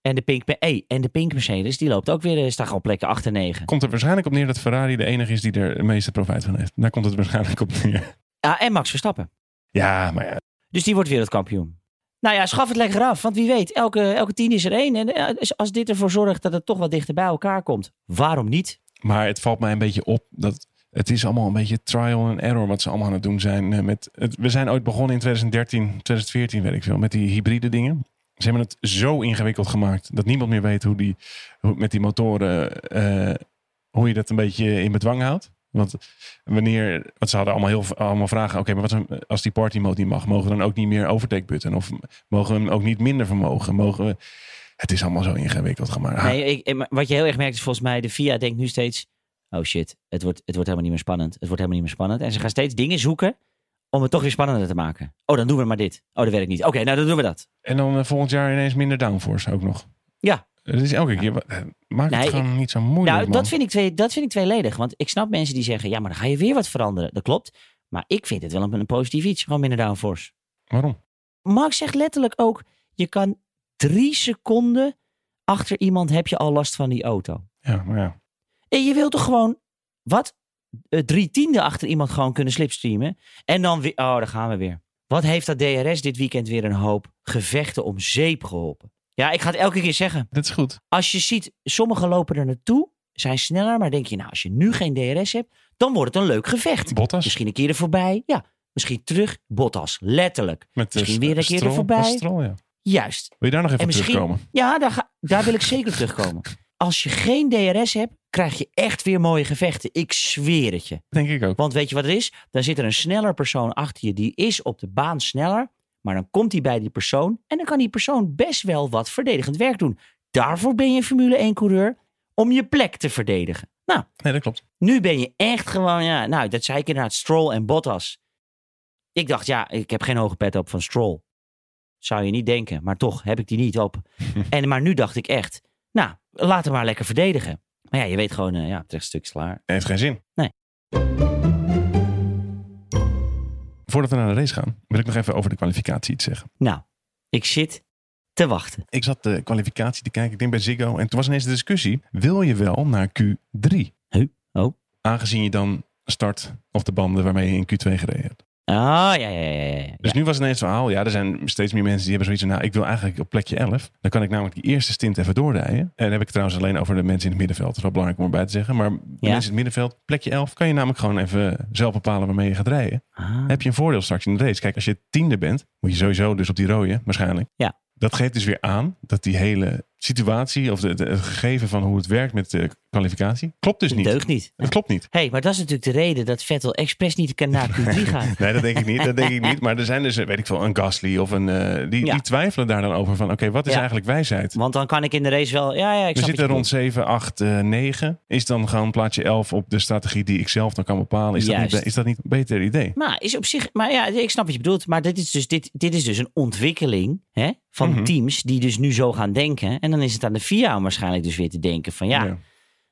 S1: En de Pink, hey, en de Pink Mercedes, die loopt ook weer... eh, staat gewoon plekken 8 en 9.
S2: Komt er waarschijnlijk op neer dat Ferrari de enige is die er het meeste profijt van heeft. Daar komt het waarschijnlijk op neer.
S1: Ja, en Max Verstappen.
S2: Ja, maar ja.
S1: Dus die wordt wereldkampioen. Nou ja, schaf het lekker af. Want wie weet, elke, elke tien is er één. En eh, dus als dit ervoor zorgt dat het toch wat dichter bij elkaar komt, waarom niet?
S2: Maar het valt mij een beetje op dat het is allemaal een beetje trial and error wat ze allemaal aan het doen zijn. eh, Met het, we zijn ooit begonnen in 2013, 2014 weet ik veel, met die hybride dingen. Ze hebben het zo ingewikkeld gemaakt dat niemand meer weet hoe die hoe, met die motoren, eh, hoe je dat een beetje in bedwang houdt. Want wanneer, want ze hadden allemaal, heel, allemaal vragen. Oké, maar wat is een- als die party mode niet mag, mogen we dan ook niet meer overtake button? Of mogen we hem ook niet minder vermogen? Mogen we, het is allemaal zo ingewikkeld gemaakt.
S1: Nee, ik, eh, maar wat je heel erg merkt is volgens mij, de FIA denkt nu steeds... Oh shit, het wordt, het wordt helemaal niet meer spannend. Het wordt helemaal niet meer spannend. En ze gaan steeds dingen zoeken om het toch weer spannender te maken. Oh, dan doen we maar dit. Oh, dat werkt niet. Oké, nou dan doen we dat.
S2: En dan eh, volgend jaar ineens minder downforce ook nog.
S1: Ja.
S2: Dat is elke keer. eh, Maak
S1: Nee,
S2: het gewoon niet zo moeilijk.
S1: Nou,
S2: man.
S1: dat vind, ik twee, dat vind ik tweeledig. Want ik snap mensen die zeggen, ja, maar dan ga je weer wat veranderen. Dat klopt. Maar ik vind het wel een, een positief iets. Gewoon minder downforce.
S2: Waarom?
S1: Mark zegt letterlijk ook: je kan drie seconden achter iemand heb je al last van die auto.
S2: Ja, maar ja.
S1: En je wilt toch gewoon wat Eh, drie tienden achter iemand gewoon kunnen slipstreamen en dan weer. Oh, daar gaan we weer. Wat heeft dat DRS dit weekend weer een hoop gevechten om zeep geholpen? Ja, ik ga het elke keer zeggen.
S2: Dat is goed.
S1: Als je ziet, sommigen lopen er naartoe, zijn sneller, maar denk je, nou, als je nu geen DRS hebt, dan wordt het een leuk gevecht.
S2: Bottas.
S1: Misschien een keer er voorbij, ja. Misschien terug, Bottas, letterlijk.
S2: met de
S1: misschien
S2: st-
S1: weer een keer
S2: strol-
S1: ervoorbij.
S2: met strol, ja.
S1: Juist.
S2: Wil je daar nog even
S1: En misschien-
S2: terugkomen?
S1: Ja, daar, ga- daar wil ik zeker op terugkomen. Als je geen DRS hebt, krijg je echt weer mooie gevechten. Ik zweer het je.
S2: Denk ik ook.
S1: Want weet je wat het is? Dan zit er een sneller persoon achter je. Die is op de baan sneller. Maar dan komt hij bij die persoon. En dan kan die persoon best wel wat verdedigend werk doen. Daarvoor ben je Formule 1 coureur. Om je plek te verdedigen. Nou,
S2: Nee, dat klopt.
S1: nu ben je echt gewoon, ja, nou, dat zei ik inderdaad, Stroll en Bottas. Ik dacht, ja, ik heb geen hoge pet op van Stroll. Zou je niet denken, maar toch heb ik die niet op. en, maar nu dacht ik echt, nou, laat hem maar lekker verdedigen. Maar ja, je weet gewoon, eh, ja, het rechtstuk is klaar.
S2: Heeft geen zin.
S1: Nee.
S2: Voordat we naar de race gaan, wil ik nog even over de kwalificatie iets zeggen.
S1: Nou, ik zit te wachten.
S2: Ik zat de kwalificatie te kijken, ik denk bij Ziggo. En toen was ineens de discussie, wil je wel naar Q3?
S1: Huh? Oh.
S2: Aangezien je dan start op de banden waarmee je in Q2 gereden hebt.
S1: Oh, ja, ja, ja, ja, ja.
S2: Dus nu was het ineens het verhaal. Ja, er zijn steeds meer mensen die hebben zoiets van... nou, ik wil eigenlijk op plekje 11. Dan kan ik namelijk die eerste stint even doorrijden. En dan heb ik het trouwens alleen over de mensen in het middenveld. Dat is wel belangrijk om erbij te zeggen. Maar de mensen in het middenveld, plekje 11... kan je namelijk gewoon even zelf bepalen waarmee je gaat rijden.
S1: Ah.
S2: Dan heb je een voordeel straks in de race. Kijk, als je tiende bent, moet je sowieso dus op die rode waarschijnlijk.
S1: Ja.
S2: Dat geeft dus weer aan dat die hele situatie... of de, de- het gegeven van hoe het werkt met de kwalificatie... klopt dus niet.
S1: Deugt niet.
S2: Het klopt niet.
S1: Hé, hey, maar dat is natuurlijk de reden dat Vettel expres niet kan naar Q3 gaat.
S2: Nee, dat denk ik niet. Dat denk ik niet. Maar er zijn dus, weet ik veel, een Gasly of een... eh, die,
S1: Ja.
S2: die twijfelen daar dan over van, oké, wat is
S1: Ja.
S2: eigenlijk wijsheid?
S1: Want dan kan ik in de race wel... Ja, ja, ik
S2: We
S1: snap
S2: zitten
S1: wat je
S2: rond 7, 8, eh, 9. Is dan gewoon plaatje 11 op de strategie die ik zelf dan kan bepalen? Is, dat niet,
S1: Juist.
S2: be- is dat niet een beter idee?
S1: Maar is op zich, maar ja, ik snap wat je bedoelt. Maar dit is dus, dit, dit is dus een ontwikkeling hè, van
S2: Mhm.
S1: teams die dus nu zo gaan denken. En dan is het aan de VIA om waarschijnlijk dus weer te denken van ja,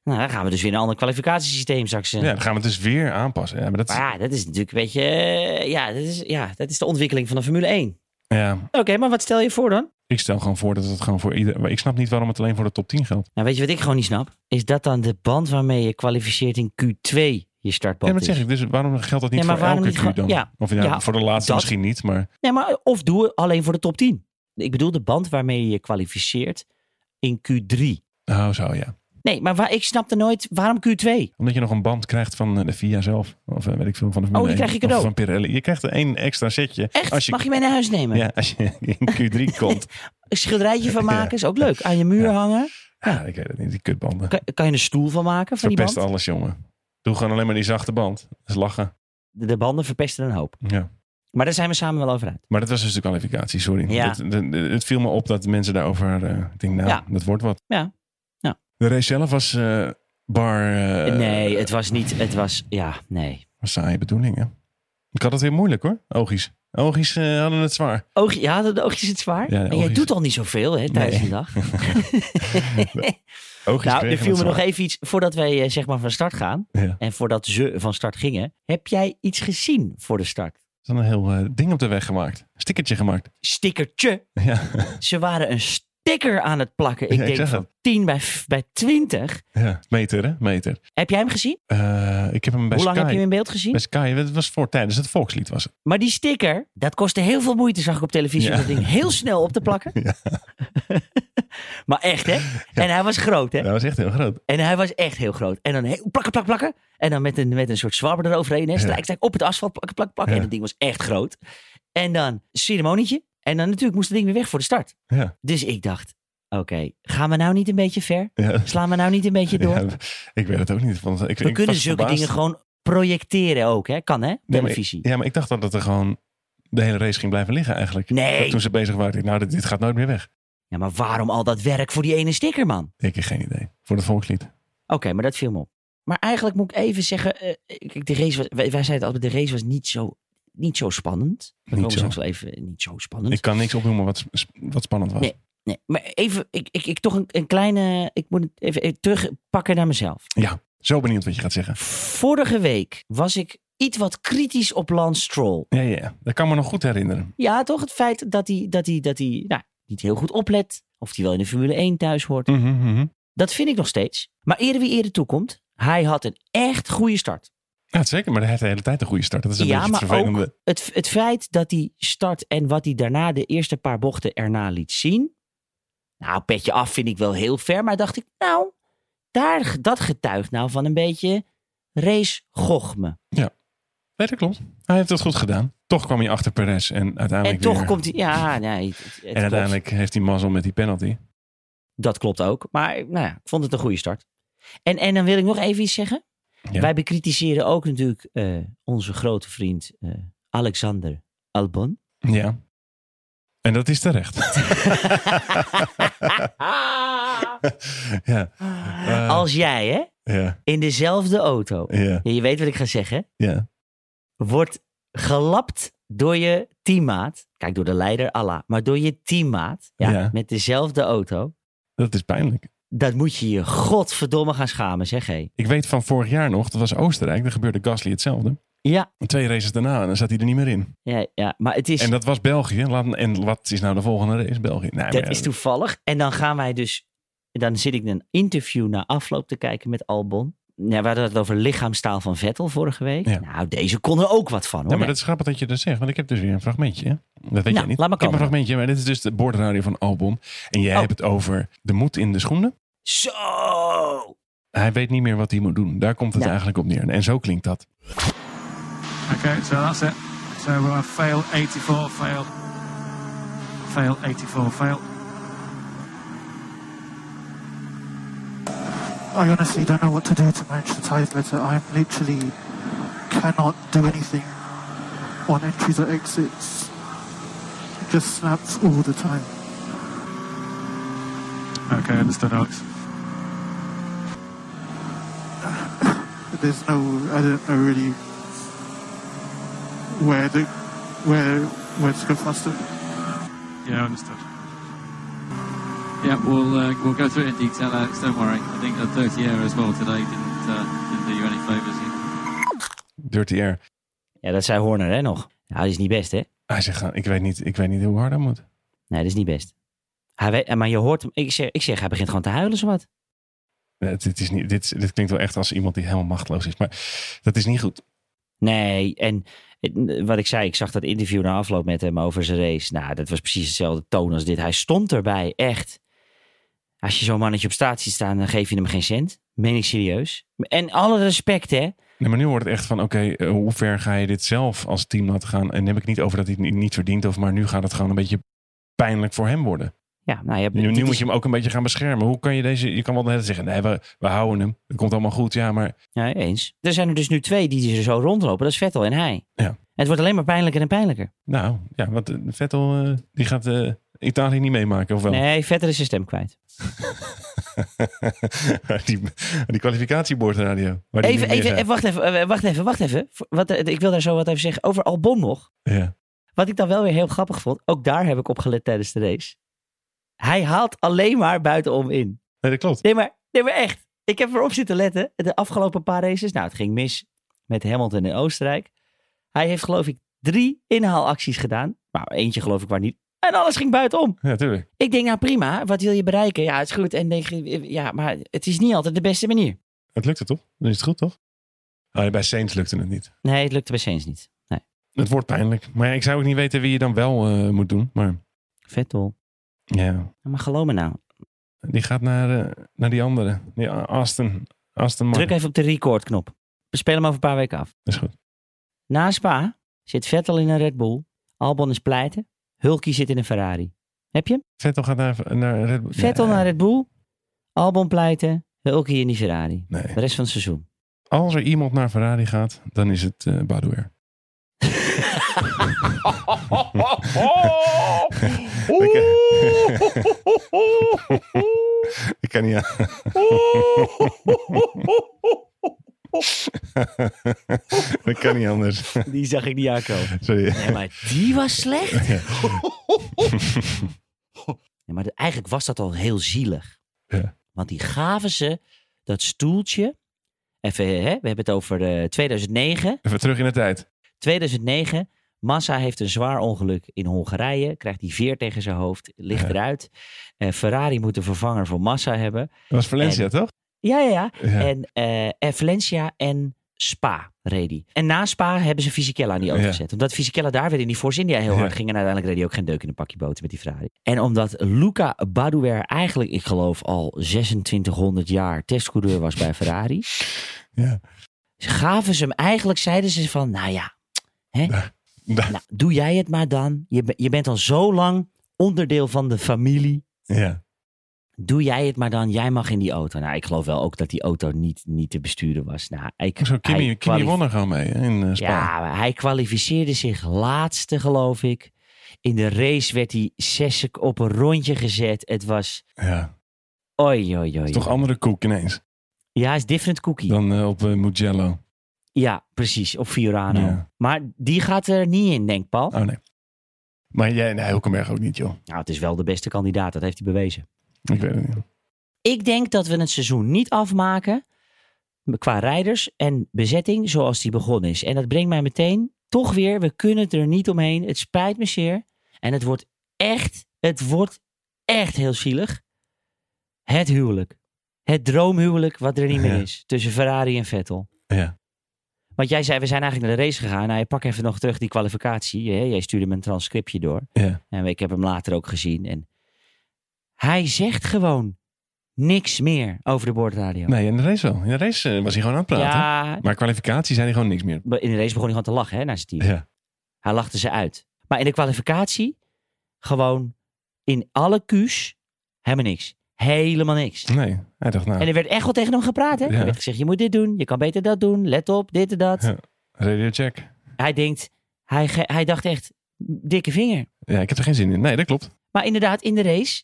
S1: Nou, dan gaan we dus weer een ander kwalificatiesysteem straks. eh.
S2: Ja, dan gaan we het dus weer aanpassen. Ja, maar dat is-
S1: Maar ja, dat is natuurlijk een beetje... eh, ja, dat is, ja, dat is de ontwikkeling van de Formule 1.
S2: ja,
S1: Oké, maar wat stel je voor dan?
S2: ik stel gewoon voor dat het gewoon voor ieder... maar Ik snap niet waarom het alleen voor de top 10 geldt.
S1: Nou, weet je wat ik gewoon niet snap? Is dat dan de band waarmee je kwalificeert in Q2 je startband
S2: Ja, maar
S1: is?
S2: dat zeg ik. Dus waarom geldt dat niet
S1: Ja, maar
S2: voor
S1: waarom
S2: elke
S1: niet
S2: Q
S1: gewoon-
S2: dan?
S1: ja.
S2: Of ja,
S1: Ja,
S2: voor de laatste
S1: dat-
S2: misschien niet, maar...
S1: Nee, maar eh, of doe het alleen voor de top 10. Ik bedoel de band waarmee je je kwalificeert in Q3.
S2: Oh, zo ja.
S1: Nee, maar waar, ik snapte nooit waarom Q2.
S2: Omdat je nog een band krijgt van eh, de VIA zelf. Of eh, weet ik veel, van de Formule
S1: Oh, die
S2: 1.
S1: krijg je
S2: Of
S1: cadeau.
S2: van Pirelli. Je krijgt er één extra setje.
S1: Echt?
S2: Als je,
S1: Mag je mee naar huis nemen?
S2: ja, als je in Q3 komt.
S1: Een schilderijtje van maken is ook leuk. Aan je muur
S2: Ja.
S1: hangen.
S2: Ja, ik weet het niet. Die kutbanden.
S1: Kan, kan je een stoel van maken van die
S2: Verpest
S1: band?
S2: alles, jongen. Doe gewoon alleen maar die zachte band. Dat is lachen.
S1: De, de banden verpesten een hoop.
S2: Ja.
S1: Maar daar zijn we samen wel over uit.
S2: Maar dat was dus de kwalificatie, sorry.
S1: Ja.
S2: Dat- dat- het viel me op dat mensen daarover... eh, ik denk, nou,
S1: Ja.
S2: dat wordt wat.
S1: Ja. Ja.
S2: De race zelf was eh, bar... eh,
S1: nee, het was niet... Het was... Ja, nee.
S2: was saaie bedoeling, hè? Ik had het weer moeilijk, hoor. Oogjes. Oogjes eh, hadden het zwaar.
S1: Oog, ja, de de oogjes het zwaar.
S2: de
S1: en jij
S2: oogjes-
S1: doet al niet zoveel hè, tijdens
S2: Nee.
S1: de dag.
S2: Oogjes
S1: nou,
S2: kregen
S1: er viel
S2: het
S1: me nog
S2: zwaar.
S1: even iets... Voordat wij eh, zeg maar van start gaan...
S2: Ja.
S1: en voordat ze van start gingen... heb jij iets gezien voor de start?
S2: Er is dan een heel eh, ding op de weg gemaakt. Stickertje gemaakt.
S1: Stickertje.
S2: Ja.
S1: Ze waren een sticker aan het plakken. Ik
S2: Ja, ik
S1: denk
S2: zag
S1: van
S2: het.
S1: 10 bij, f- bij 20.
S2: ja. Meter, hè? Meter.
S1: Heb jij hem gezien?
S2: Eh, ik heb hem bij
S1: Hoe lang
S2: Sky.
S1: heb je hem in beeld gezien?
S2: Bij Sky, het was voor tijdens het volkslied was het.
S1: Maar die sticker, dat kostte heel veel moeite, zag ik op televisie.
S2: Ja.
S1: Om dat ding heel snel op te plakken.
S2: Ja.
S1: maar echt, hè? En hij was groot, hè?
S2: Dat was echt heel groot.
S1: En hij was echt heel groot. En dan heel plakken, plakken, plakken. En dan met een, met een soort zwabber eroverheen. Hè? Strijk, strijk, op het asfalt plakken, plakken, plakken.
S2: Ja.
S1: En dat ding was echt groot. En dan ceremonietje. En dan natuurlijk moest het ding weer weg voor de start.
S2: Ja.
S1: Dus ik dacht, oké, gaan we nou niet een beetje ver?
S2: Ja.
S1: Slaan we nou niet een beetje door?
S2: Ja, ik weet het ook niet. Want ik,
S1: we
S2: ik
S1: kunnen
S2: was
S1: zulke
S2: verbaasd.
S1: dingen gewoon projecteren ook, hè? Kan, hè?
S2: Nee, maar ik-
S1: Televisie.
S2: ja, maar ik dacht dat het er gewoon de hele race ging blijven liggen eigenlijk.
S1: Nee.
S2: Dat toen ze bezig waren, ik, nou, dit, dit gaat nooit meer weg.
S1: Ja, maar waarom al dat werk voor die ene sticker, man?
S2: Ik heb geen idee. Voor het volkslied.
S1: Oké, maar dat viel me op. Maar eigenlijk moet ik even zeggen, eh, kijk, de race was, wij, wij zeiden altijd, de race was niet zo, niet zo spannend. We
S2: Niet
S1: komen
S2: zo.
S1: straks wel even, eh, niet zo spannend.
S2: Ik kan niks opnoemen wat, sp- wat spannend was.
S1: Nee. Nee, maar even, ik, ik, ik toch een, een kleine, ik moet het even, even terugpakken naar mezelf.
S2: Ja, zo benieuwd wat je gaat zeggen.
S1: Vorige week was ik iets wat kritisch op Lance Stroll.
S2: Ja, ja, ja. dat kan me nog goed herinneren.
S1: Ja, toch het feit dat hij, dat hij, dat hij nou, niet heel goed oplet, of hij wel in de Formule 1 thuis hoort.
S2: Mhm, mhm.
S1: Dat vind ik nog steeds. Maar eerder wie eerder toekomt, hij had een echt goede start.
S2: Ja, zeker, maar hij heeft de hele tijd een goede start. Dat is een
S1: Ja,
S2: beetje het
S1: maar
S2: vervelende.
S1: ook het, het feit dat die start en wat hij daarna de eerste paar bochten erna liet zien. Nou, petje af vind ik wel heel ver. Maar dacht ik, nou, daar, dat getuigt nou van een beetje race gochme.
S2: Nee, dat klopt. Hij heeft dat goed gedaan. Toch kwam hij achter Perez en uiteindelijk
S1: En toch
S2: weer.
S1: komt hij... Ja, nee, het- het klopt.
S2: en uiteindelijk heeft hij mazzel met die penalty.
S1: Dat klopt ook. Maar nou ja, ik vond het een goede start. En, en dan wil ik nog even iets zeggen.
S2: Ja.
S1: Wij bekritiseren ook natuurlijk eh, onze grote vriend eh, Alexander Albon.
S2: Ja. En dat is terecht. ja, Eh.
S1: Als jij, hè?
S2: ja,
S1: In dezelfde auto.
S2: ja,
S1: Ja, je weet wat ik ga zeggen.
S2: ja.
S1: Wordt gelapt door je teammaat. Kijk, door de leider, Allah. Maar door je teammaat. Ja,
S2: Ja.
S1: Met dezelfde auto.
S2: Dat is pijnlijk.
S1: Dat moet je je godverdomme gaan schamen, zeg hé.
S2: Ik weet van vorig jaar nog, dat was Oostenrijk, daar gebeurde Gasly hetzelfde.
S1: Ja,
S2: En Twee races daarna en dan zat hij er niet meer in.
S1: ja, ja, maar het is,
S2: En dat was België. Laat, en wat is nou de volgende race? België. Nee,
S1: dat
S2: maar-
S1: is toevallig. En dan gaan wij dus... Dan zit ik een interview na afloop te kijken met Albon. Nou, we hadden het over lichaamstaal van Vettel vorige week.
S2: Ja.
S1: Nou, deze kon er ook wat van, hoor.
S2: Ja, maar dat is grappig dat je dat zegt, want ik heb dus weer een fragmentje. hè. Dat weet jij
S1: Nou,
S2: niet.
S1: laat maar
S2: ik heb een
S1: komen.
S2: fragmentje, maar dit is dus de bordradio van Albon. En jij
S1: Oh.
S2: hebt het over de moed in de schoenen.
S1: Zo!
S2: Hij weet niet meer wat hij moet doen. Daar komt het
S1: Ja.
S2: eigenlijk op neer. En zo klinkt dat.
S5: Okay, so that's it. So we'll have fail 84, fail, fail 84, fail. I honestly don't know what to do to manage the tyres better. I literally cannot do anything on entries or exits. It just snaps all the time. Okay, understood, Alex. There's no, I don't know really where the where where to go faster. Yeah, understood.
S6: Yeah, we'll uh, we'll go through it in detail, Alex. Don't worry. I think the 30 air as well today didn't uh, didn't do you any favours.
S2: Dirty Air.
S1: Ja, dat zei Horner hè, nog. Nou, dat is niet best, hè?
S2: Hij zegt, gewoon, ik weet niet, ik weet niet hoe hard dat moet.
S1: Nee, dat is niet best. Hij weet, maar je hoort hem. Ik zeg, ik zeg hij begint gewoon te huilen, zowat.
S2: Eh, dit, is niet, dit, is- dit klinkt wel echt als iemand die helemaal machteloos is. Maar dat is niet goed.
S1: Nee, en het- wat ik zei, ik zag dat interview na afloop met hem over zijn race. Nou, dat was precies dezelfde toon als dit. Hij stond erbij, echt. Als je zo'n mannetje op straat ziet staan, dan geef je hem geen cent. Meen ik serieus. En alle respect, hè.
S2: Nee, maar nu wordt het echt van, oké, eh, hoe ver ga je dit zelf als team laten gaan? En dan heb ik niet over dat hij het niet, niet verdient. Of, maar nu gaat het gewoon een beetje pijnlijk voor hem worden.
S1: Ja, nou, je,
S2: Nu,
S1: dit
S2: nu
S1: is-
S2: moet je hem ook een beetje gaan beschermen. Hoe kan je deze... Je kan wel de hele tijd zeggen, nee, we, we houden hem. Het komt allemaal goed, ja, maar...
S1: Ja, eens. Er zijn er dus nu twee die er zo rondlopen. Dat is Vettel en hij.
S2: Ja.
S1: En het wordt alleen maar pijnlijker en pijnlijker.
S2: Nou, ja, want eh, Vettel, eh, die gaat eh, Italië niet meemaken, of wel?
S1: Nee, Vettel is zijn stem kwijt.
S2: die, die kwalificatiebordradio. waar die
S1: Even,
S2: niet
S1: even,
S2: meer
S1: even, wacht even, eh, wacht even, wacht even. Voor- Wat, eh, ik wil daar zo wat even zeggen. Over Albon nog.
S2: gaat. Ja.
S1: Wat ik dan wel weer heel grappig vond. Ook daar heb ik op gelet tijdens de race. Hij haalt alleen maar buitenom in.
S2: Nee, dat klopt.
S1: Nee, maar, nee, maar echt. Ik heb erop zitten letten. De afgelopen paar races. Nou, het ging mis met Hamilton in Oostenrijk. Hij heeft geloof ik drie inhaalacties gedaan. Nou, eentje geloof ik waar niet. En alles ging buitenom.
S2: Ja, tuurlijk.
S1: Ik denk, nou prima, wat wil je bereiken? Ja, het is goed. En denk, je, eh, ja, maar het is niet altijd de beste manier.
S2: Het lukte toch? Dan is het goed, toch? Oh, nee, bij Saints lukte het niet.
S1: Nee, het lukte bij Sainz niet. Nee,
S2: Het wordt pijnlijk. Maar ja, ik zou ook niet weten wie je dan wel eh, moet doen. Maar
S1: Vettel.
S2: ja,
S1: Maar geloof me nou.
S2: die gaat naar, eh, naar die andere. Die A- Aston. Aston Martin.
S1: Druk even op de recordknop. We spelen hem over een paar weken af.
S2: Dat is goed.
S1: Na Spa zit Vettel in een Red Bull. Albon is pleiten. Hulkie zit in een Ferrari. Heb je hem?
S2: Vettel gaat naar, naar Red Bull. eh,
S1: Vettel
S2: Nee.
S1: naar Red Bull. Albon pleiten. Hulkie in die Ferrari.
S2: Nee.
S1: De rest van het seizoen.
S2: Als er iemand naar Ferrari gaat, dan is het eh Badouer. Ik, eh, ik kan niet aan. Dat kan niet anders.
S1: Die zag ik niet aankomen.
S2: Sorry.
S1: Nee, maar die was slecht.
S2: Ja.
S1: Nee, maar de- eigenlijk was dat al heel zielig.
S2: Ja.
S1: Want die gaven ze dat stoeltje. Even, hè, we hebben het over eh, 2009.
S2: Even terug in de tijd.
S1: 2009, Massa heeft een zwaar ongeluk in Hongarije. Krijgt die veer tegen zijn hoofd, ligt
S2: Ja.
S1: eruit. Eh, Ferrari moet een vervanger voor Massa hebben.
S2: Dat was Valencia,
S1: En-
S2: toch?
S1: Ja, ja, ja.
S2: Ja.
S1: En, eh, en Valencia en Spa reed die. En na Spa hebben ze Fisichella aan die auto
S2: Ja.
S1: gezet. Omdat Fisichella daar weer in die Force India heel
S2: Ja.
S1: hard ging. En uiteindelijk reed hij ook geen deuk in een pakje boter met die Ferrari. En omdat Luca Badouer eigenlijk, ik geloof, al 2600 jaar testcoureur was bij Ferrari.
S2: Ja.
S1: Gaven ze hem eigenlijk, zeiden ze van, nou ja,
S2: Da-
S1: nou, doe jij het maar dan. Je, be- je bent al zo lang onderdeel van de familie.
S2: Ja.
S1: Doe jij het maar dan. Jij mag in die auto. Nou, ik geloof wel ook dat die auto niet, niet te besturen was. Nou, ik,
S2: Zo, Kimmy,
S1: hij
S2: Kimmy
S1: kwalif-
S2: won er gewoon mee hè, in eh, Spa.
S1: Ja, maar hij kwalificeerde zich laatste, geloof ik. In de race werd hij zes sec- op een rondje gezet. Het was...
S2: Ja.
S1: Oi, oi, oi.
S2: Toch andere koek ineens
S1: Ja, is different cookie.
S2: dan eh, op eh, Mugello.
S1: Ja, precies. Op Fiorano.
S2: Ja.
S1: Maar die gaat er niet in, denk Paul.
S2: Oh nee. Maar jij, nee, Hulkenberg ook niet, joh.
S1: Nou, het is wel de beste kandidaat. Dat heeft hij bewezen.
S2: Ik weet het niet.
S1: Ik denk dat we het seizoen niet afmaken qua rijders en bezetting zoals die begonnen is. En dat brengt mij meteen toch weer, we kunnen het er niet omheen. Het spijt me zeer. En het wordt echt, het wordt echt heel zielig. Het huwelijk. Het droomhuwelijk wat er niet meer
S2: Ja.
S1: is tussen Ferrari en Vettel.
S2: Ja.
S1: Want jij zei, we zijn eigenlijk naar de race gegaan. Nou, je pak even nog terug die kwalificatie. hè. Jij stuurde me een transcriptje door.
S2: Ja.
S1: En ik heb hem later ook gezien. En hij zegt gewoon niks meer over de boordradio.
S2: Nee, in de race wel. In de race eh, was hij gewoon aan het praten.
S1: ja,
S2: Maar kwalificatie zei hij gewoon niks meer.
S1: in de race begon hij gewoon te lachen hè, naar zijn team.
S2: Ja.
S1: Hij lachte ze uit. Maar in de kwalificatie gewoon in alle Q's helemaal niks. Helemaal niks.
S2: Nee, hij dacht nou,
S1: En er werd echt wel tegen hem gepraat. Hè?
S2: Ja.
S1: Er werd gezegd, je moet dit doen, je kan beter dat doen. Let op, dit en dat.
S2: Ja. radio check.
S1: Hij denkt, hij, ge- hij dacht echt, dikke vinger.
S2: Ja, ik heb er geen zin in. Nee, dat klopt.
S1: Maar inderdaad, in de race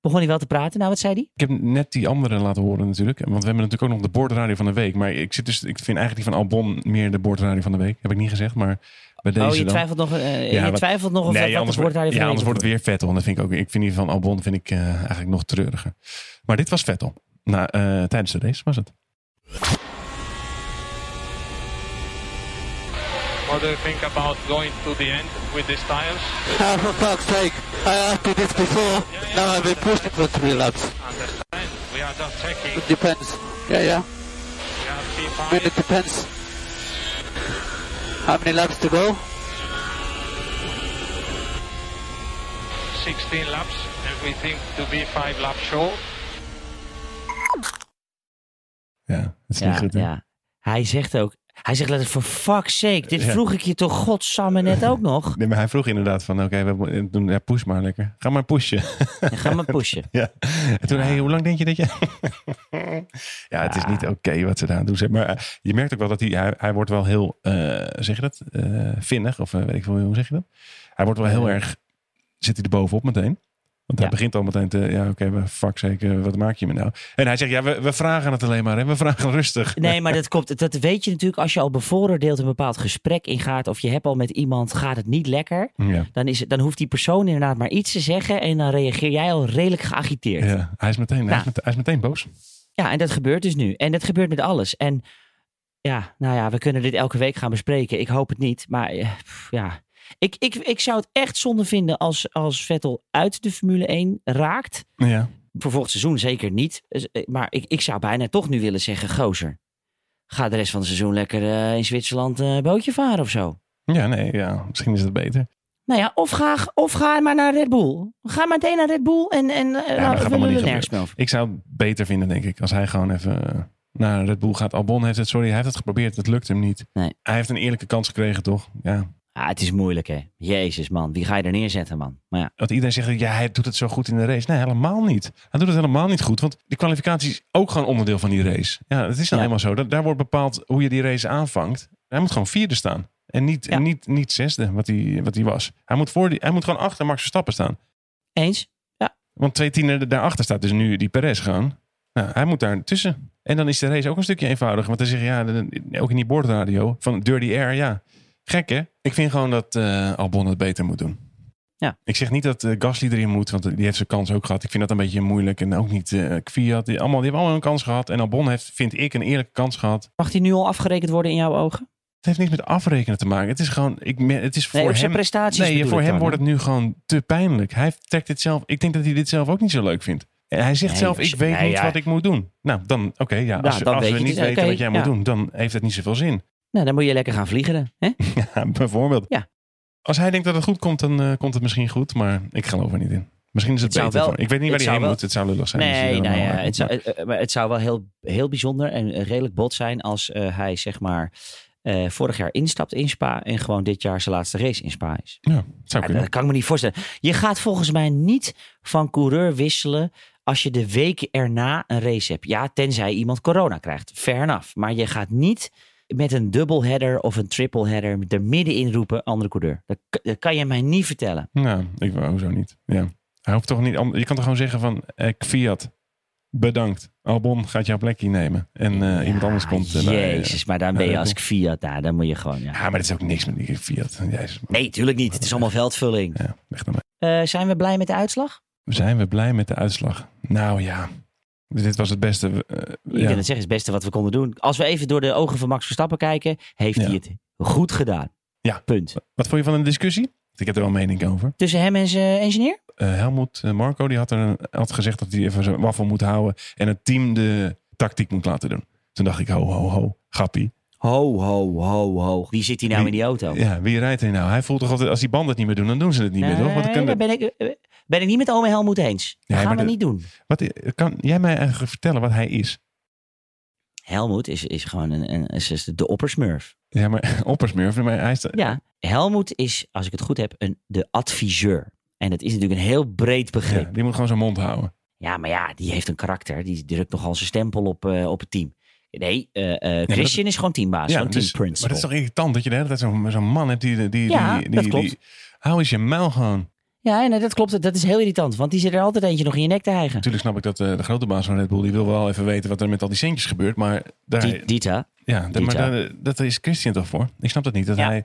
S1: begon hij wel te praten. Nou, wat zei hij?
S2: Ik heb net die andere laten horen natuurlijk. Want we hebben natuurlijk ook nog de bordradio van de week. Maar ik, zit dus, ik vind eigenlijk die van Albon meer de bordradio van de week. Heb ik niet gezegd, maar bij deze
S1: oh, je
S2: dan.
S1: twijfelt nog, eh,
S2: Ja,
S1: je
S2: wat-
S1: twijfelt nog of dat wat
S2: anders,
S1: het woord
S2: wordt-
S1: daar
S2: ja, anders wordt het weer Vettel. En dat vind ik ook. Ik vind die van Albon vind ik, eh, eigenlijk nog treuriger. Maar dit was Vettel. Nou, eh, tijdens de race was het.
S7: What do you think about going to the end with these tires?
S8: Ah, for fuck's sake, I asked you this before. Now I've been pushed for three laps.
S7: Understand? We are just checking.
S8: It depends. Yeah, yeah.
S7: We are
S8: I mean, it
S7: P5.
S8: depends. How many laps to go?
S7: 16 laps, and we think to be five laps short.
S2: Ja, dat is niet
S1: Ja,
S2: goed. hè?
S1: ja. Hij zegt ook, hij zegt letterlijk, for fuck's sake, dit
S2: Ja.
S1: vroeg ik je toch godsamme net ook nog.
S2: Nee, maar hij vroeg inderdaad van, oké, we hebben- doen- ja, push maar lekker. Ga maar pushen.
S1: Dan gaan we pushen.
S2: ja. En toen, hey, hoe lang denk je dat je... ja, het is niet oké wat ze daar aan doen. zeg. Maar eh, je merkt ook wel dat hij, hij, hij wordt wel heel, eh, zeg je dat, Eh, vinnig. Of eh, weet ik veel, hoe zeg je dat? Hij wordt wel heel erg, zit hij er bovenop meteen. Want
S1: Ja.
S2: hij begint al meteen te, ja oké, we fuck zeker, wat maak je me nou? En hij zegt, ja, we, we vragen het alleen maar, hè? we vragen rustig.
S1: Nee, maar dat, komt, dat weet je natuurlijk als je al bevooroordeeld een bepaald gesprek ingaat. Of je hebt al met iemand, gaat het niet lekker.
S2: Ja.
S1: Dan, is, het- dan hoeft die persoon inderdaad maar iets te zeggen. En dan reageer jij al redelijk geagiteerd. Ja,
S2: Ja, hij is, meteen, hij,
S1: Nou.
S2: is meteen, hij is meteen boos.
S1: en dat gebeurt dus nu. En dat gebeurt met alles. En ja, nou ja, we kunnen dit elke week gaan bespreken. Ik hoop het niet. Maar eh, pff, ja, ik, ik, ik zou het echt zonde vinden als, als Vettel uit de Formule 1 raakt.
S2: Ja.
S1: voor volgend seizoen zeker niet. Dus, eh, Maar ik, ik zou bijna toch nu willen zeggen, gozer. Ga de rest van het seizoen lekker eh, in Zwitserland eh, bootje varen of zo.
S2: ja, nee, ja, misschien is dat beter.
S1: Nou ja, of ga, of ga maar naar Red Bull. Ga maar meteen naar Red Bull en, en eh,
S2: dat gaat
S1: nou, we
S2: allemaal
S1: willen
S2: niet
S1: er nergens
S2: gebeuren.
S1: meer over.
S2: Ik zou het beter vinden, denk ik, als hij gewoon even eh, naar Red Bull gaat. Albon heeft het, sorry, hij heeft het geprobeerd. Het lukt hem niet.
S1: Nee.
S2: Hij heeft een eerlijke kans gekregen, toch? Ja.
S1: Ah, het is moeilijk, hè. Jezus, man. Wie ga je er neerzetten, man? Maar ja,
S2: Want iedereen zegt, ja, hij doet het zo goed in de race. Nee, helemaal niet. Hij doet het helemaal niet goed. Want de kwalificatie is ook gewoon onderdeel van die race. Ja, het is nou
S1: Ja.
S2: helemaal zo. Dat, daar wordt bepaald hoe je die race aanvangt. Hij moet gewoon vierde staan. En niet,
S1: Ja.
S2: niet, niet zesde, wat hij, wat hij was. Hij moet, voor die, hij moet gewoon achter Max Verstappen staan.
S1: eens?
S2: Want twee tienen daarachter staat dus nu die Perez gewoon. Nou, hij moet daar tussen. En dan is de race ook een stukje eenvoudiger. Want dan zeg je, ja, dan- ook in die bordradio van Dirty Air, ja. Gek hè? Ik vind gewoon dat eh, Albon het beter moet doen.
S1: Ja.
S2: Ik zeg niet dat eh, Gasly erin moet, want die heeft zijn kans ook gehad. Ik vind dat een beetje moeilijk. En ook niet eh Kvyat. Die, allemaal, die hebben allemaal een kans gehad. En Albon heeft, vind ik, een eerlijke kans gehad.
S1: Mag die nu al afgerekend worden in jouw ogen?
S2: Het heeft niks met afrekenen te maken. Het is gewoon, ik, mer- het is voor
S1: Nee, op zijn
S2: hem...
S1: prestaties
S2: Nee,
S1: bedoel
S2: voor
S1: ik
S2: hem
S1: dan,
S2: wordt
S1: hè?
S2: het nu gewoon te pijnlijk. Hij trekt dit zelf. Ik denk dat hij dit zelf ook niet zo leuk vindt. En hij zegt
S1: Nee,
S2: zelf:
S1: als-
S2: Ik weet
S1: nee,
S2: niet
S1: ja.
S2: wat ik moet doen. Nou, dan, oké, ja.
S1: Nou,
S2: Als, we-
S1: dan
S2: als
S1: weet
S2: we
S1: je
S2: niet
S1: dus,
S2: weten
S1: oké,
S2: wat jij
S1: ja.
S2: moet doen, dan heeft het niet zoveel zin.
S1: Nou, dan moet je lekker gaan vliegeren, hè?
S2: Ja, bijvoorbeeld.
S1: Ja.
S2: Als hij denkt dat het goed komt, dan eh, komt het misschien goed. Maar ik geloof er niet in. Misschien is het,
S1: Het zou
S2: beter.
S1: wel-
S2: voor- ik weet niet
S1: het
S2: waar hij
S1: zou
S2: heen
S1: wel-
S2: moet. Het zou lullig zijn. als hij
S1: Nee,
S2: er
S1: nou
S2: allemaal
S1: ja,
S2: uit
S1: het
S2: moet.
S1: zou, eh, eh, maar het zou wel heel, heel bijzonder en eh, redelijk bot zijn als eh, hij zeg maar eh, vorig jaar instapt in Spa en gewoon dit jaar zijn laatste race in Spa is.
S2: Ja, het zou
S1: Ja,
S2: kunnen.
S1: dat kan ik me niet voorstellen. Je gaat volgens mij niet van coureur wisselen als je de week erna een race hebt. Ja, tenzij iemand corona krijgt. Fair enough. Maar je gaat niet met een doubleheader of een tripleheader er middenin roepen andere coureur. Dat, k- dat kan je mij niet vertellen.
S2: Nou, ik wou hoezo niet. Ja. Hij hoeft toch niet. an- Je kan toch gewoon zeggen van eh Fiat, bedankt. Albon gaat jouw plekje nemen. En eh, iemand
S1: Ja,
S2: anders komt. eh, bij, eh,
S1: Jezus, maar dan ben
S2: bij
S1: je
S2: Red
S1: als
S2: Bull.
S1: ik Fiat daar, dan moet je gewoon... Ja.
S2: Ja, maar dat is ook niks met die Fiat. Jezus, man.
S1: Nee, tuurlijk niet. Het is allemaal veldvulling.
S2: Ja, weg daarmee.
S1: Eh, zijn we blij met de uitslag?
S2: Zijn we blij met de uitslag? Nou ja, dit was het beste. eh,
S1: Ik
S2: ja.
S1: wil het zeggen, is het beste wat we konden doen. Als we even door de ogen van Max Verstappen kijken, heeft
S2: Ja.
S1: hij het goed gedaan.
S2: Ja.
S1: Punt.
S2: Wat vond je van de discussie? Ik heb er wel een mening over.
S1: Tussen hem en zijn engineer?
S2: Eh, Helmut eh, Marco die had, er een- had gezegd dat hij even zijn waffel moet houden. En het team de tactiek moet laten doen. Toen dacht ik, ho, ho, ho, grappie.
S1: Ho, ho, ho, ho. Wie zit hier nou
S2: Wie-
S1: in die auto?
S2: Ja, wie rijdt er nou? Hij voelt toch altijd, als die banden het niet meer doen, dan doen ze het niet meer, toch? Want dan
S1: Nee,
S2: oh, kan
S1: daar
S2: de-
S1: ben ik, eh, ben ik niet met ome Helmoet eens. Dat
S2: Nee,
S1: gaan
S2: maar
S1: we
S2: de-
S1: niet doen.
S2: wat, kan jij mij eigenlijk vertellen wat hij is?
S1: Helmoet is, is gewoon een, een, is is de oppersmurf.
S2: Ja, maar oppersmurf, maar hij is...
S1: Ja, Helmoet is, als ik het goed heb, een, de adviseur. En dat is natuurlijk een heel breed
S2: Ja,
S1: begrip.
S2: die moet gewoon zijn mond houden.
S1: Ja, maar ja, die heeft een karakter. Die drukt nogal zijn stempel op, eh, op het team. Nee, eh, eh, Christian is gewoon teambaas,
S2: ja,
S1: gewoon
S2: dus- maar
S1: teamprincipal.
S2: dat is toch irritant dat je de hele tijd zo'n zo'n man hebt die... die, die
S1: Ja,
S2: die,
S1: dat
S2: die-
S1: klopt.
S2: die- hou eens je muil gewoon.
S1: Ja, nee, dat klopt. Dat is heel irritant. Want die zit er altijd eentje nog in je nek te hijgen.
S2: Natuurlijk snap ik dat eh, de grote baas van Red Bull, die wil wel even weten wat er met al die centjes gebeurt. Maar, daar,
S1: Die- Dita.
S2: ja, dat-
S1: die-
S2: maar
S1: ja.
S2: daar, dat is Christian toch voor? Ik snap dat niet. Dat
S1: Ja.
S2: hij,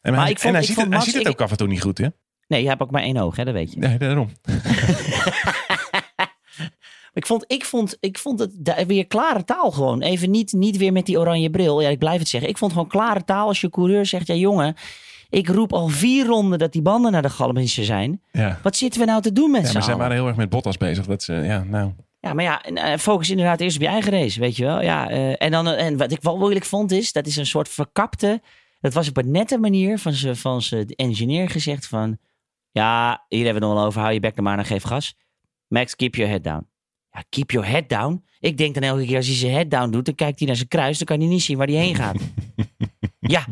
S2: en
S1: Maar
S2: hij,
S1: ik vond-
S2: en hij
S1: ik
S2: ziet,
S1: vond
S2: het, hij
S1: Max-
S2: ziet het
S1: ik-
S2: ook af en toe niet goed, hè?
S1: Nee, je hebt ook maar één oog, hè, dat weet je.
S2: Nee, daarom.
S1: Ik vond, ik vond, ik vond het da- weer klare taal gewoon. Even niet, niet weer met die oranje bril. Ja, ik blijf het zeggen. Ik vond gewoon klare taal als je coureur zegt... Ja, jongen, ik roep al vier ronden dat die banden naar de galmensje zijn.
S2: Ja.
S1: Wat zitten we nou te doen met
S2: Ja,
S1: z'n
S2: maar zij
S1: allen?
S2: waren heel erg met Bottas bezig. Dat ze, ja, nou,
S1: Ja, maar ja, en, eh, focus inderdaad eerst op je eigen race, weet je wel. Ja, eh, en, dan, eh, en wat ik wel moeilijk vond is, dat is een soort verkapte... Dat was op een nette manier van zijn van ze engineer gezegd van... Ja, hier hebben we het nog wel over, hou je bek nou maar en geef gas. Max, keep your head down. Ja, keep your head down? Ik denk dan elke keer als hij zijn head down doet, dan kijkt hij naar zijn kruis. Dan kan hij niet zien waar hij heen gaat. ja,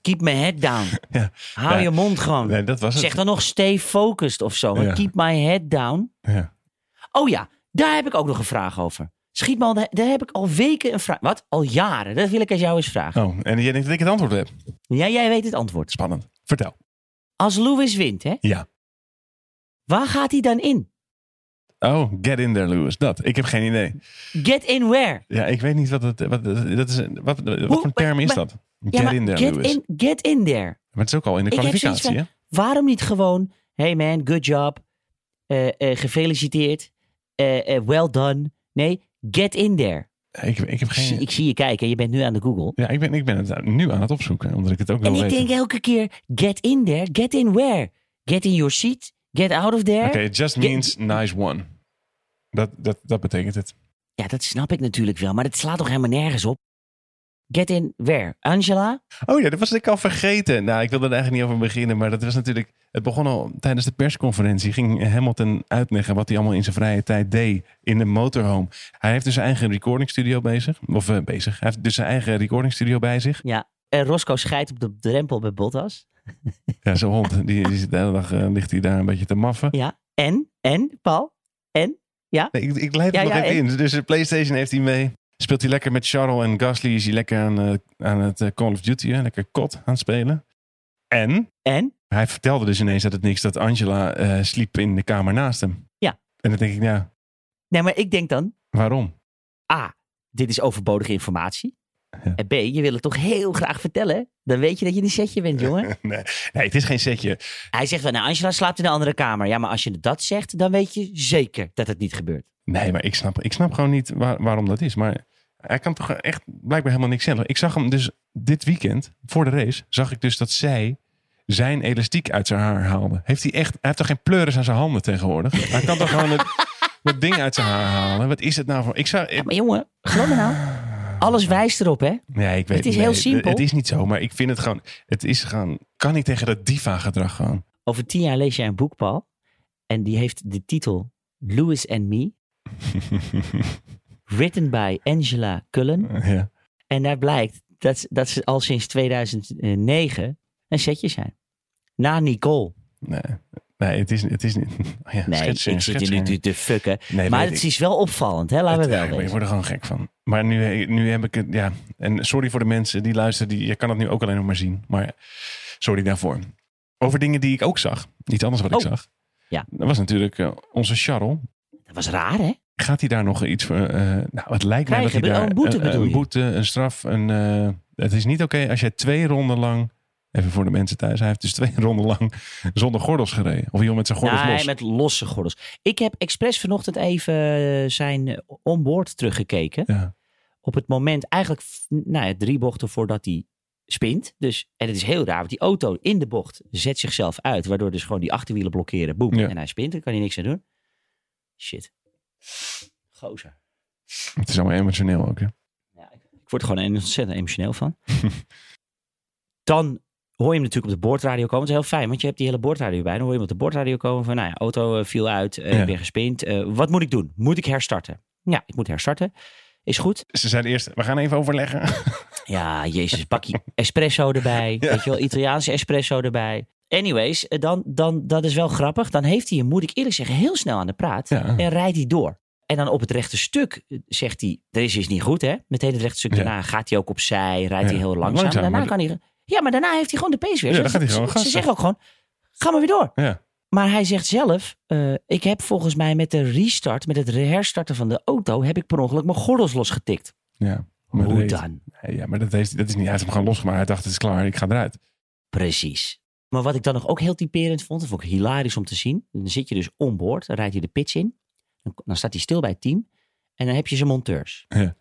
S1: keep my head down.
S2: Ja,
S1: Hou
S2: ja.
S1: je mond gewoon.
S2: nee, dat was het.
S1: zeg dan nog stay focused of zo. maar
S2: Ja.
S1: Keep my head down.
S2: Ja.
S1: Oh ja, daar heb ik ook nog een vraag over. Schiet me al, daar heb ik al weken een vraag. Wat? Al jaren. Dat wil ik aan jou eens vragen.
S2: Oh, en jij denkt dat ik het antwoord heb.
S1: Ja, jij weet het antwoord.
S2: Spannend. Vertel.
S1: Als Lewis wint, hè?
S2: Ja.
S1: Waar gaat hij dan in?
S2: Oh, get in there, Lewis. Dat. Ik heb geen idee.
S1: Get in where?
S2: Ja, ik weet niet wat het... Wat, dat is, wat, wat voor
S1: maar-
S2: een term is
S1: maar-
S2: dat? Get
S1: Ja, maar
S2: in there,
S1: get
S2: Lewis.
S1: In, get in there.
S2: Maar het is ook al in de
S1: Ik heb zoiets
S2: kwalificatie, hè?
S1: van- Waarom niet gewoon, hey man, good job, eh, eh, gefeliciteerd, Eh, eh, well done. Nee, get in there.
S2: Ik, ik heb
S1: Ik zie-
S2: geen...
S1: Ik zie je kijken, je bent nu aan de Google.
S2: Ja, ik ben, ik ben het nu aan het opzoeken, omdat ik het ook
S1: En
S2: wil
S1: ik
S2: weten.
S1: denk elke keer, get in there, get in where? Get in your seat, get out of there.
S2: Oké, it just
S1: Get-
S2: means nice one. Dat, dat, dat betekent het.
S1: Ja, dat snap ik natuurlijk wel, maar dat slaat toch helemaal nergens op? Get in where? Angela?
S2: Oh ja, dat was ik al vergeten. Nou, ik wilde er eigenlijk niet over beginnen, maar dat was natuurlijk... Het begon al tijdens de persconferentie. Ging Hamilton uitleggen wat hij allemaal in zijn vrije tijd deed in de motorhome. Hij heeft dus zijn eigen recording studio bezig. Of eh, bezig. Hij heeft dus zijn eigen recording studio bij zich.
S1: Ja. En Roscoe scheidt op de drempel bij Bottas.
S2: Ja, zijn hond, die, die zit de hele dag, eh, ligt hij daar een beetje te maffen.
S1: Ja. En, en, Paul? En? Ja?
S2: Nee, ik, ik leid het
S1: Ja,
S2: nog
S1: ja,
S2: even in. Dus de PlayStation heeft hij mee. Speelt hij lekker met Charles en Gasly. Is hij lekker aan, eh, aan het eh, Call of Duty, hè? lekker kot aan het spelen. En
S1: En?
S2: hij vertelde dus ineens dat het niks dat Angela eh, sliep in de kamer naast hem.
S1: Ja.
S2: En dan denk ik, ja,
S1: Nee, maar ik denk dan,
S2: waarom?
S1: A, dit is overbodige informatie.
S2: Ja.
S1: En B, je wil het toch heel graag vertellen? Dan weet je dat je in een setje bent, jongen.
S2: nee, nee, het is geen setje.
S1: Hij zegt wel, nou, Angela slaapt in een andere kamer. Ja, maar als je dat zegt, dan weet je zeker dat het niet gebeurt.
S2: Nee, maar ik snap, ik snap gewoon niet waar- waarom dat is. Maar hij kan toch echt blijkbaar helemaal niks zelf. Ik zag hem dus dit weekend, voor de race, zag ik dus dat zij zijn elastiek uit zijn haar haalde. Heeft hij echt, hij heeft toch geen pleuris aan zijn handen tegenwoordig? Hij kan toch gewoon het, dat ding uit zijn haar halen? Wat is het nou voor... Ik zou...
S1: Ja, maar jongen, geloof me nou. Alles wijst erop, hè?
S2: nee, ik weet
S1: het is
S2: nee,
S1: heel simpel.
S2: Het is niet zo, maar ik vind het gewoon... Het is gewoon... Kan niet tegen dat diva-gedrag gewoon.
S1: Over tien jaar lees jij een boek, Paul. En die heeft de titel Lewis and Me. written by Angela Cullen.
S2: ja.
S1: En daar blijkt dat, ze- dat ze al sinds 2009 een setje zijn. Na Nicole.
S2: Nee. Nee, het is, het is niet... Oh ja,
S1: Nee,
S2: schetsen,
S1: ik zit
S2: schetsen.
S1: hier nu te fucken.
S2: Nee,
S1: maar
S2: weet
S1: het
S2: ik.
S1: is wel opvallend, hè? Laten we
S2: Het-
S1: wel
S2: ja, maar je
S1: wezen.
S2: wordt er gewoon gek van. Maar nu, nu heb ik het, ja. En sorry voor de mensen die luisteren. Die, je kan het nu ook alleen nog maar zien. Maar sorry daarvoor. Over dingen die ik ook zag. Iets anders wat ik
S1: Oh.
S2: zag.
S1: Ja.
S2: Dat was natuurlijk eh, onze Charles.
S1: Dat was raar, hè?
S2: Gaat hij daar nog iets voor? eh, nou, het lijkt mij dat hij
S1: Krijgen?
S2: daar
S1: Oh, een boete
S2: een,
S1: bedoel je?
S2: boete, een straf. Een, eh, het is niet oké als jij twee ronden lang... Even voor de mensen thuis. Hij heeft dus twee ronden lang zonder gordels gereden. Of joh, met zijn gordels
S1: nee,
S2: los.
S1: met losse gordels. Ik heb expres vanochtend even eh, zijn onboard teruggekeken.
S2: Ja.
S1: Op het moment eigenlijk f- nou ja, drie bochten voordat hij spint. Dus, en het is heel raar, want die auto in de bocht zet zichzelf uit. Waardoor dus gewoon die achterwielen blokkeren. Boem.
S2: Ja.
S1: En hij spint, daar kan hij niks aan doen. Shit. Gozer.
S2: Het is allemaal emotioneel ook. Hè?
S1: Ja, ik- ik word er gewoon ontzettend emotioneel van. dan hoor je hem natuurlijk op de boordradio komen. Het is heel fijn, want je hebt die hele boordradio bij. Dan hoor je hem op de boordradio komen van, nou ja, auto eh, viel uit, eh,
S2: Ja.
S1: ik ben gespind. Eh, wat moet ik doen? Moet ik herstarten? Ja, ik moet herstarten. Is goed.
S2: Ze zeiden eerst, we gaan even overleggen.
S1: Ja, jezus, bakje espresso erbij. Weet je wel, Italiaanse espresso erbij. Anyways, eh, dan, dan, dat is wel grappig. Dan heeft hij hem, moet ik eerlijk zeggen, heel snel aan de praat.
S2: Ja.
S1: En rijdt hij door. En dan op het rechte stuk eh, zegt hij, er is iets niet goed hè. Meteen het rechte stuk
S2: Ja.
S1: daarna gaat hij ook opzij, rijdt
S2: Ja.
S1: hij heel langzaam.
S2: Langzaam,
S1: daarna
S2: maar
S1: kan hij... Ja, maar daarna heeft hij gewoon de pace weer.
S2: Ja,
S1: Ze-
S2: dan gaat hij gewoon
S1: ze-
S2: gas
S1: Ze
S2: geven.
S1: zeggen ook gewoon, Ga maar weer door.
S2: Ja.
S1: Maar hij zegt zelf, eh, ik heb volgens mij met de restart, met het herstarten van de auto, heb ik per ongeluk mijn gordels losgetikt.
S2: Ja. Maar dat
S1: Hoe
S2: heeft-
S1: dan?
S2: Nee, Eh, Ja, maar dat, heeft, dat is niet. Hij heeft hem gewoon losgemaakt. Hij dacht, het is klaar. Ik ga eruit.
S1: Precies. Maar wat ik dan nog ook heel typerend vond, dat vond ik hilarisch om te zien. Dan zit je dus onboord, dan rijdt hij de pitch in. Dan, dan staat hij stil bij het team. En dan heb je zijn monteurs.
S2: Ja.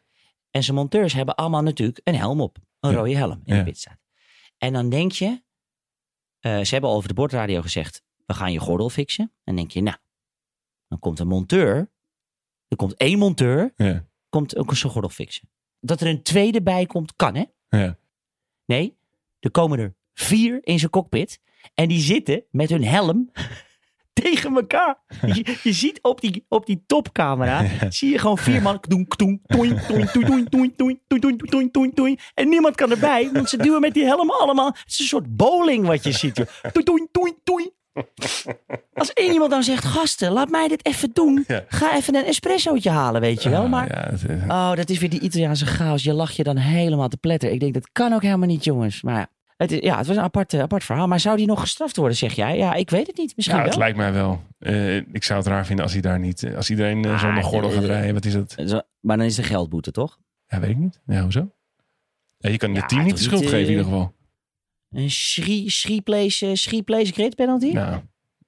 S1: En zijn monteurs hebben allemaal natuurlijk een helm op. Een
S2: Ja.
S1: rode helm in
S2: Ja.
S1: de pit staat. En dan denk je, eh, ze hebben al over de bordradio gezegd, we gaan je gordel fixen. En denk je, nou, dan komt een monteur. Er komt één monteur,
S2: Ja.
S1: komt ook zijn gordel fixen. Dat er een tweede bij komt, kan hè?
S2: Ja.
S1: Nee, er komen er vier in zijn cockpit. En die zitten met hun helm tegen elkaar. Je, je ziet op die, op die topcamera, zie je gewoon vier man. Kdoen, kdoen, toin, toin, toin, toin, toin, toin, toin, toin, toin, toin, toin, toin. En niemand kan erbij, want ze duwen met die helm allemaal. Het is een soort bowling wat je ziet. joh. Toin, toin, toin, toin. Als één iemand dan zegt, gasten, laat mij dit even doen.
S2: Ja.
S1: Ga even een espressootje halen, weet je wel.
S2: Ah,
S1: Maar
S2: ja, dat-
S1: Oh, dat is weer die Italiaanse chaos. Je lacht je dan helemaal te pletter. Ik denk, dat kan ook helemaal niet, jongens. Maar ja, het, is, ja, het was een apart, eh, apart verhaal. Maar zou die nog gestraft worden, zeg jij? Ja, ik weet het niet. Misschien
S2: Nou, het
S1: wel.
S2: lijkt mij wel. Eh, ik zou het raar vinden als hij daar niet... eh, Als iedereen eh,
S1: Ah,
S2: zonder gordel gaat
S1: eh,
S2: rijden. Wat is dat?
S1: Zo- Maar dan is de geldboete, toch?
S2: Ja, weet ik niet. Ja, hoezo? Ja, je kan
S1: Ja,
S2: het team niet
S1: toch
S2: de schuld
S1: niet, eh,
S2: geven in ieder geval.
S1: Een schrie- schrie-place eh, schrie-place grid penalty?
S2: Nou,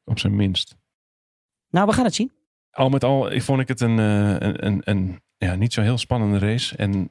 S2: op zijn minst.
S1: Nou, we gaan het zien.
S2: al met al ik vond ik het een, eh, een, een, een ja, niet zo heel spannende race. En nou,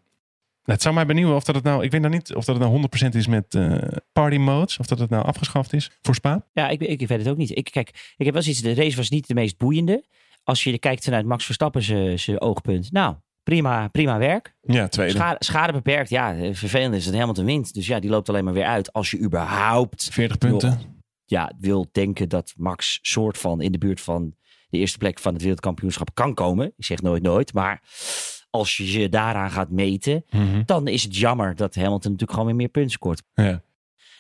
S2: het zou mij benieuwen of dat het nou, ik weet nou niet of dat het nou 100% is met eh, party modes, of dat het nou afgeschaft is voor Spa.
S1: Ja, ik, ik weet het ook niet. Ik, kijk, ik heb wel zoiets. De race was niet de meest boeiende. Als je er kijkt vanuit Max Verstappen zijn- zijn oogpunt. Nou, prima, prima werk.
S2: Ja, tweede.
S1: Schade, schade beperkt. Ja, eh, vervelend is dat Hamilton wint. Dus ja, die loopt alleen maar weer uit. Als je überhaupt
S2: 40 punten.
S1: ja, wil denken dat Max soort van in de buurt van de eerste plek van het wereldkampioenschap kan komen. Ik zeg nooit nooit, maar als je je daaraan gaat meten,
S2: Mhm.
S1: dan is het jammer dat Hamilton natuurlijk gewoon weer meer punten scoort.
S2: Ja.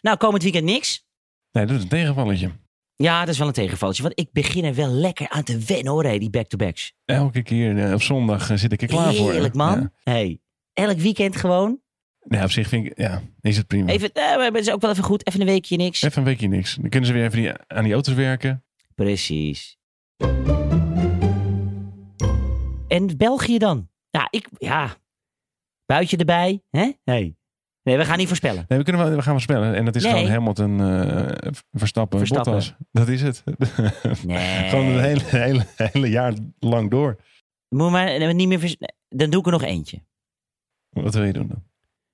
S1: Nou, komend weekend niks.
S2: Nee, dat is een tegenvalletje.
S1: Ja, dat is wel een tegenvalletje, want ik begin er wel lekker aan te wennen hoor, hé, die back-to-backs.
S2: Elke keer eh, op zondag eh, zit ik er klaar voor.
S1: Heerlijk man.
S2: Ja.
S1: Hey, elk weekend gewoon.
S2: Nee, op zich vind ik, ja, is het prima. Even,
S1: Even, eh, maar het is ook wel even goed, even een weekje niks.
S2: een weekje niks. Dan kunnen ze weer even die, aan die auto's werken.
S1: Precies. En België dan? Ja, ik, ja. Buitje erbij, hè? Nee. Nee, we gaan niet voorspellen.
S2: Nee, we, kunnen wel, we gaan wel spellen. En dat is
S1: Nee.
S2: gewoon Hamilton eh verstappen,
S1: Verstappen.
S2: Bottas. Dat is het.
S1: Nee.
S2: gewoon het hele, hele, hele jaar lang door.
S1: Moet maar eh, niet meer vers- Dan doe ik er nog eentje.
S2: Wat wil je doen dan?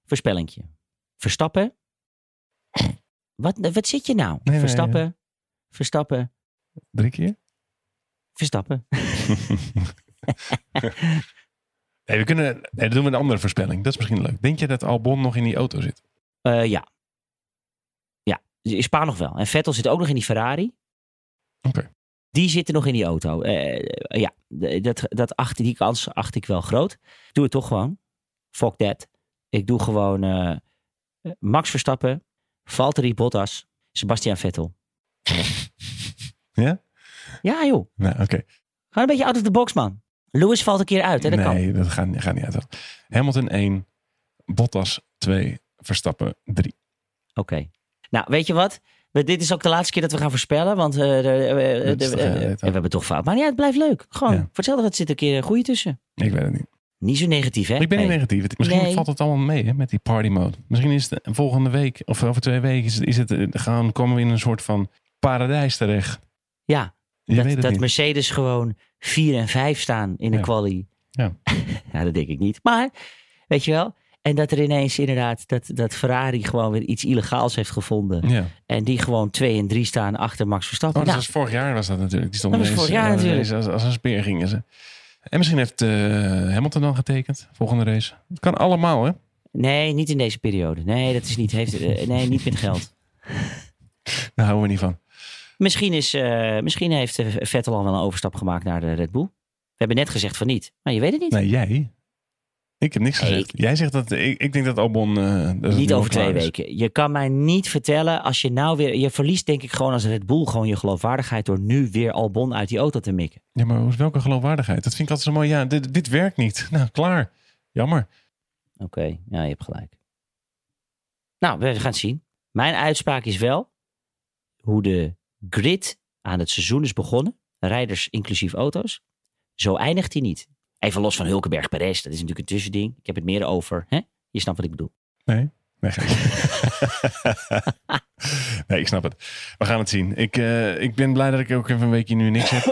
S1: Voorspellingje. Verstappen. Wat, wat zit je nou?
S2: nee,
S1: verstappen. Verstappen.
S2: Drie keer?
S1: Verstappen.
S2: Nee, we kunnen, nee, dan doen we een andere voorspelling. Dat is misschien leuk. Denk je dat Albon nog in die auto zit?
S1: Eh, ja. Ja. Spa nog wel. En Vettel zit ook nog in die Ferrari.
S2: Oké.
S1: Die zitten nog in die auto. Eh, ja, d- dat, dat acht, die kans acht ik wel groot. Doe het toch gewoon. Fuck that. Ik doe gewoon eh, Max Verstappen, Valtteri Bottas, Sebastian Vettel.
S2: Ja?
S1: Ja joh,
S2: Nou, oké.
S1: gewoon een beetje out of the box man. Lewis valt een keer uit, hè? dat kan.
S2: Nee, dat gaat, gaat niet uit. Hamilton 1, Bottas 2, Verstappen 3.
S1: Oké. Nou, weet je wat? We- dit is ook de laatste keer dat we gaan voorspellen. Want eh, de- eh,
S2: Dat
S1: de-
S2: is toch,
S1: eh,
S2: eh,
S1: eh,
S2: het-
S1: we hebben toch fout. Maar ja, het blijft leuk. Gewoon,
S2: Ja.
S1: voor hetzelfde geld zit er een keer een goede tussen.
S2: Ik weet het niet.
S1: Niet zo negatief, hè?
S2: Ik ben niet
S1: Nee.
S2: negatief. Het- Misschien
S1: Nee.
S2: valt het allemaal mee hè, met die party mode. Misschien is het volgende week of over twee weken is het, is het, eh, gaan, komen we in een soort van paradijs terecht.
S1: Ja,
S2: Je
S1: dat
S2: weet het
S1: dat
S2: niet.
S1: Mercedes gewoon 4 en 5 staan in de
S2: Ja.
S1: quali.
S2: Ja.
S1: ja, dat denk ik niet. Maar, weet je wel, en dat er ineens inderdaad dat, dat Ferrari gewoon weer iets illegaals heeft gevonden.
S2: Ja.
S1: En die gewoon 2 en 3 staan achter Max Verstappen.
S2: Oh, dat
S1: nou,
S2: was vorig jaar was dat natuurlijk. Die stond
S1: Dat was
S2: ineens,
S1: vorig jaar
S2: eh,
S1: natuurlijk.
S2: ineens Als, als een speer gingen ze. En misschien heeft eh, Hamilton dan getekend. Volgende race. Het kan allemaal, hè?
S1: Nee, niet in deze periode. Nee, dat is niet, heeft, eh, nee, niet met geld.
S2: Daar houden we niet van.
S1: Misschien, is, eh, misschien heeft eh, Vettel al wel een overstap gemaakt naar de Red Bull. We hebben net gezegd van niet, maar je weet het niet.
S2: Nee, jij? Ik heb niks
S1: Nee,
S2: gezegd. Jij zegt dat... Ik, ik denk dat Albon... eh, dat het
S1: Niet
S2: nog
S1: over
S2: klaar
S1: twee
S2: is.
S1: weken. Je kan mij niet vertellen als je nou weer. Je verliest denk ik gewoon als Red Bull gewoon je geloofwaardigheid door nu weer Albon uit die auto te mikken.
S2: Ja, maar hoe is welke geloofwaardigheid? Dat vind ik altijd zo mooi. Ja, dit, dit werkt niet. Nou, klaar. Jammer.
S1: Oké, ja, je hebt gelijk. Nou, we gaan het zien. Mijn uitspraak is wel hoe de grid aan het seizoen is begonnen, rijders inclusief auto's, zo eindigt hij niet. Even los van Hulkenberg Perez, dat is natuurlijk een tussending. Ik heb het meer over, hè? je snapt wat ik bedoel.
S2: Nee, geintje. nee, ik snap het. We gaan het zien. Ik, eh, ik ben blij dat ik ook even een weekje nu niks heb.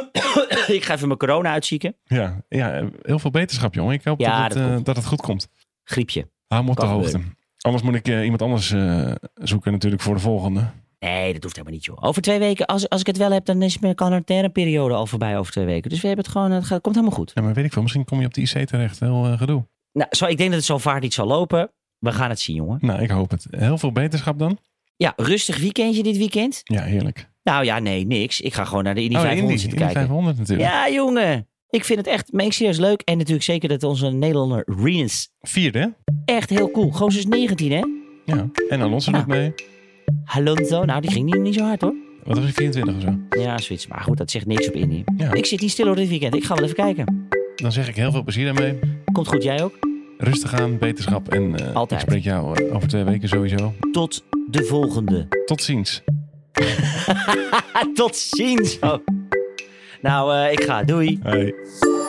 S1: ik ga even mijn corona uitzieken.
S2: Ja, ja heel veel beterschap, jongen. Ik hoop
S1: Ja,
S2: dat, het,
S1: dat
S2: eh,
S1: komt.
S2: dat het goed komt.
S1: Griepje.
S2: Hou me op de
S1: Kan
S2: hoogte. Anders moet ik eh, iemand anders eh, zoeken natuurlijk voor de volgende.
S1: Nee, dat hoeft helemaal niet, joh. Over twee weken, als, als ik het wel heb, dan is mijn quarantaineperiode al voorbij over twee weken. Dus we hebben het gewoon, het, gaat, het komt helemaal goed.
S2: Ja, maar weet ik veel. Misschien kom je op de IC terecht. Heel eh, gedoe.
S1: Nou, zo, ik denk dat het zo vaart niet zal lopen. We gaan het zien, jongen.
S2: Nou, ik hoop het. Heel veel beterschap dan.
S1: Ja, rustig weekendje dit weekend.
S2: Ja, heerlijk.
S1: Nou ja, nee, niks. Ik ga gewoon naar de Indy
S2: Oh,
S1: 500
S2: Indy.
S1: zitten
S2: Indy
S1: kijken.
S2: 500 natuurlijk.
S1: Ja, jongen. Ik vind het echt, meen ik serieus leuk. En natuurlijk zeker dat onze Nederlander Riens
S2: Vierde, hè?
S1: echt heel cool. Goos is 19, hè?
S2: Ja. En Alonso
S1: Ja.
S2: doet mee.
S1: Alonso, nou die ging niet, niet zo hard, hoor.
S2: Wat was hij? 24 of zo?
S1: Ja, zoiets. Maar goed, dat zegt niks op Indy.
S2: Ja.
S1: Ik zit niet stil hoor dit weekend. Ik ga wel even kijken.
S2: Dan zeg ik heel veel plezier daarmee.
S1: Komt goed, jij ook?
S2: Rustig aan, beterschap. En eh,
S1: Altijd.
S2: ik spreek jou eh, over twee weken sowieso.
S1: Tot de volgende.
S2: Tot ziens.
S1: Tot ziens. Oh. Nou, eh, ik ga. Doei.
S2: Hoi.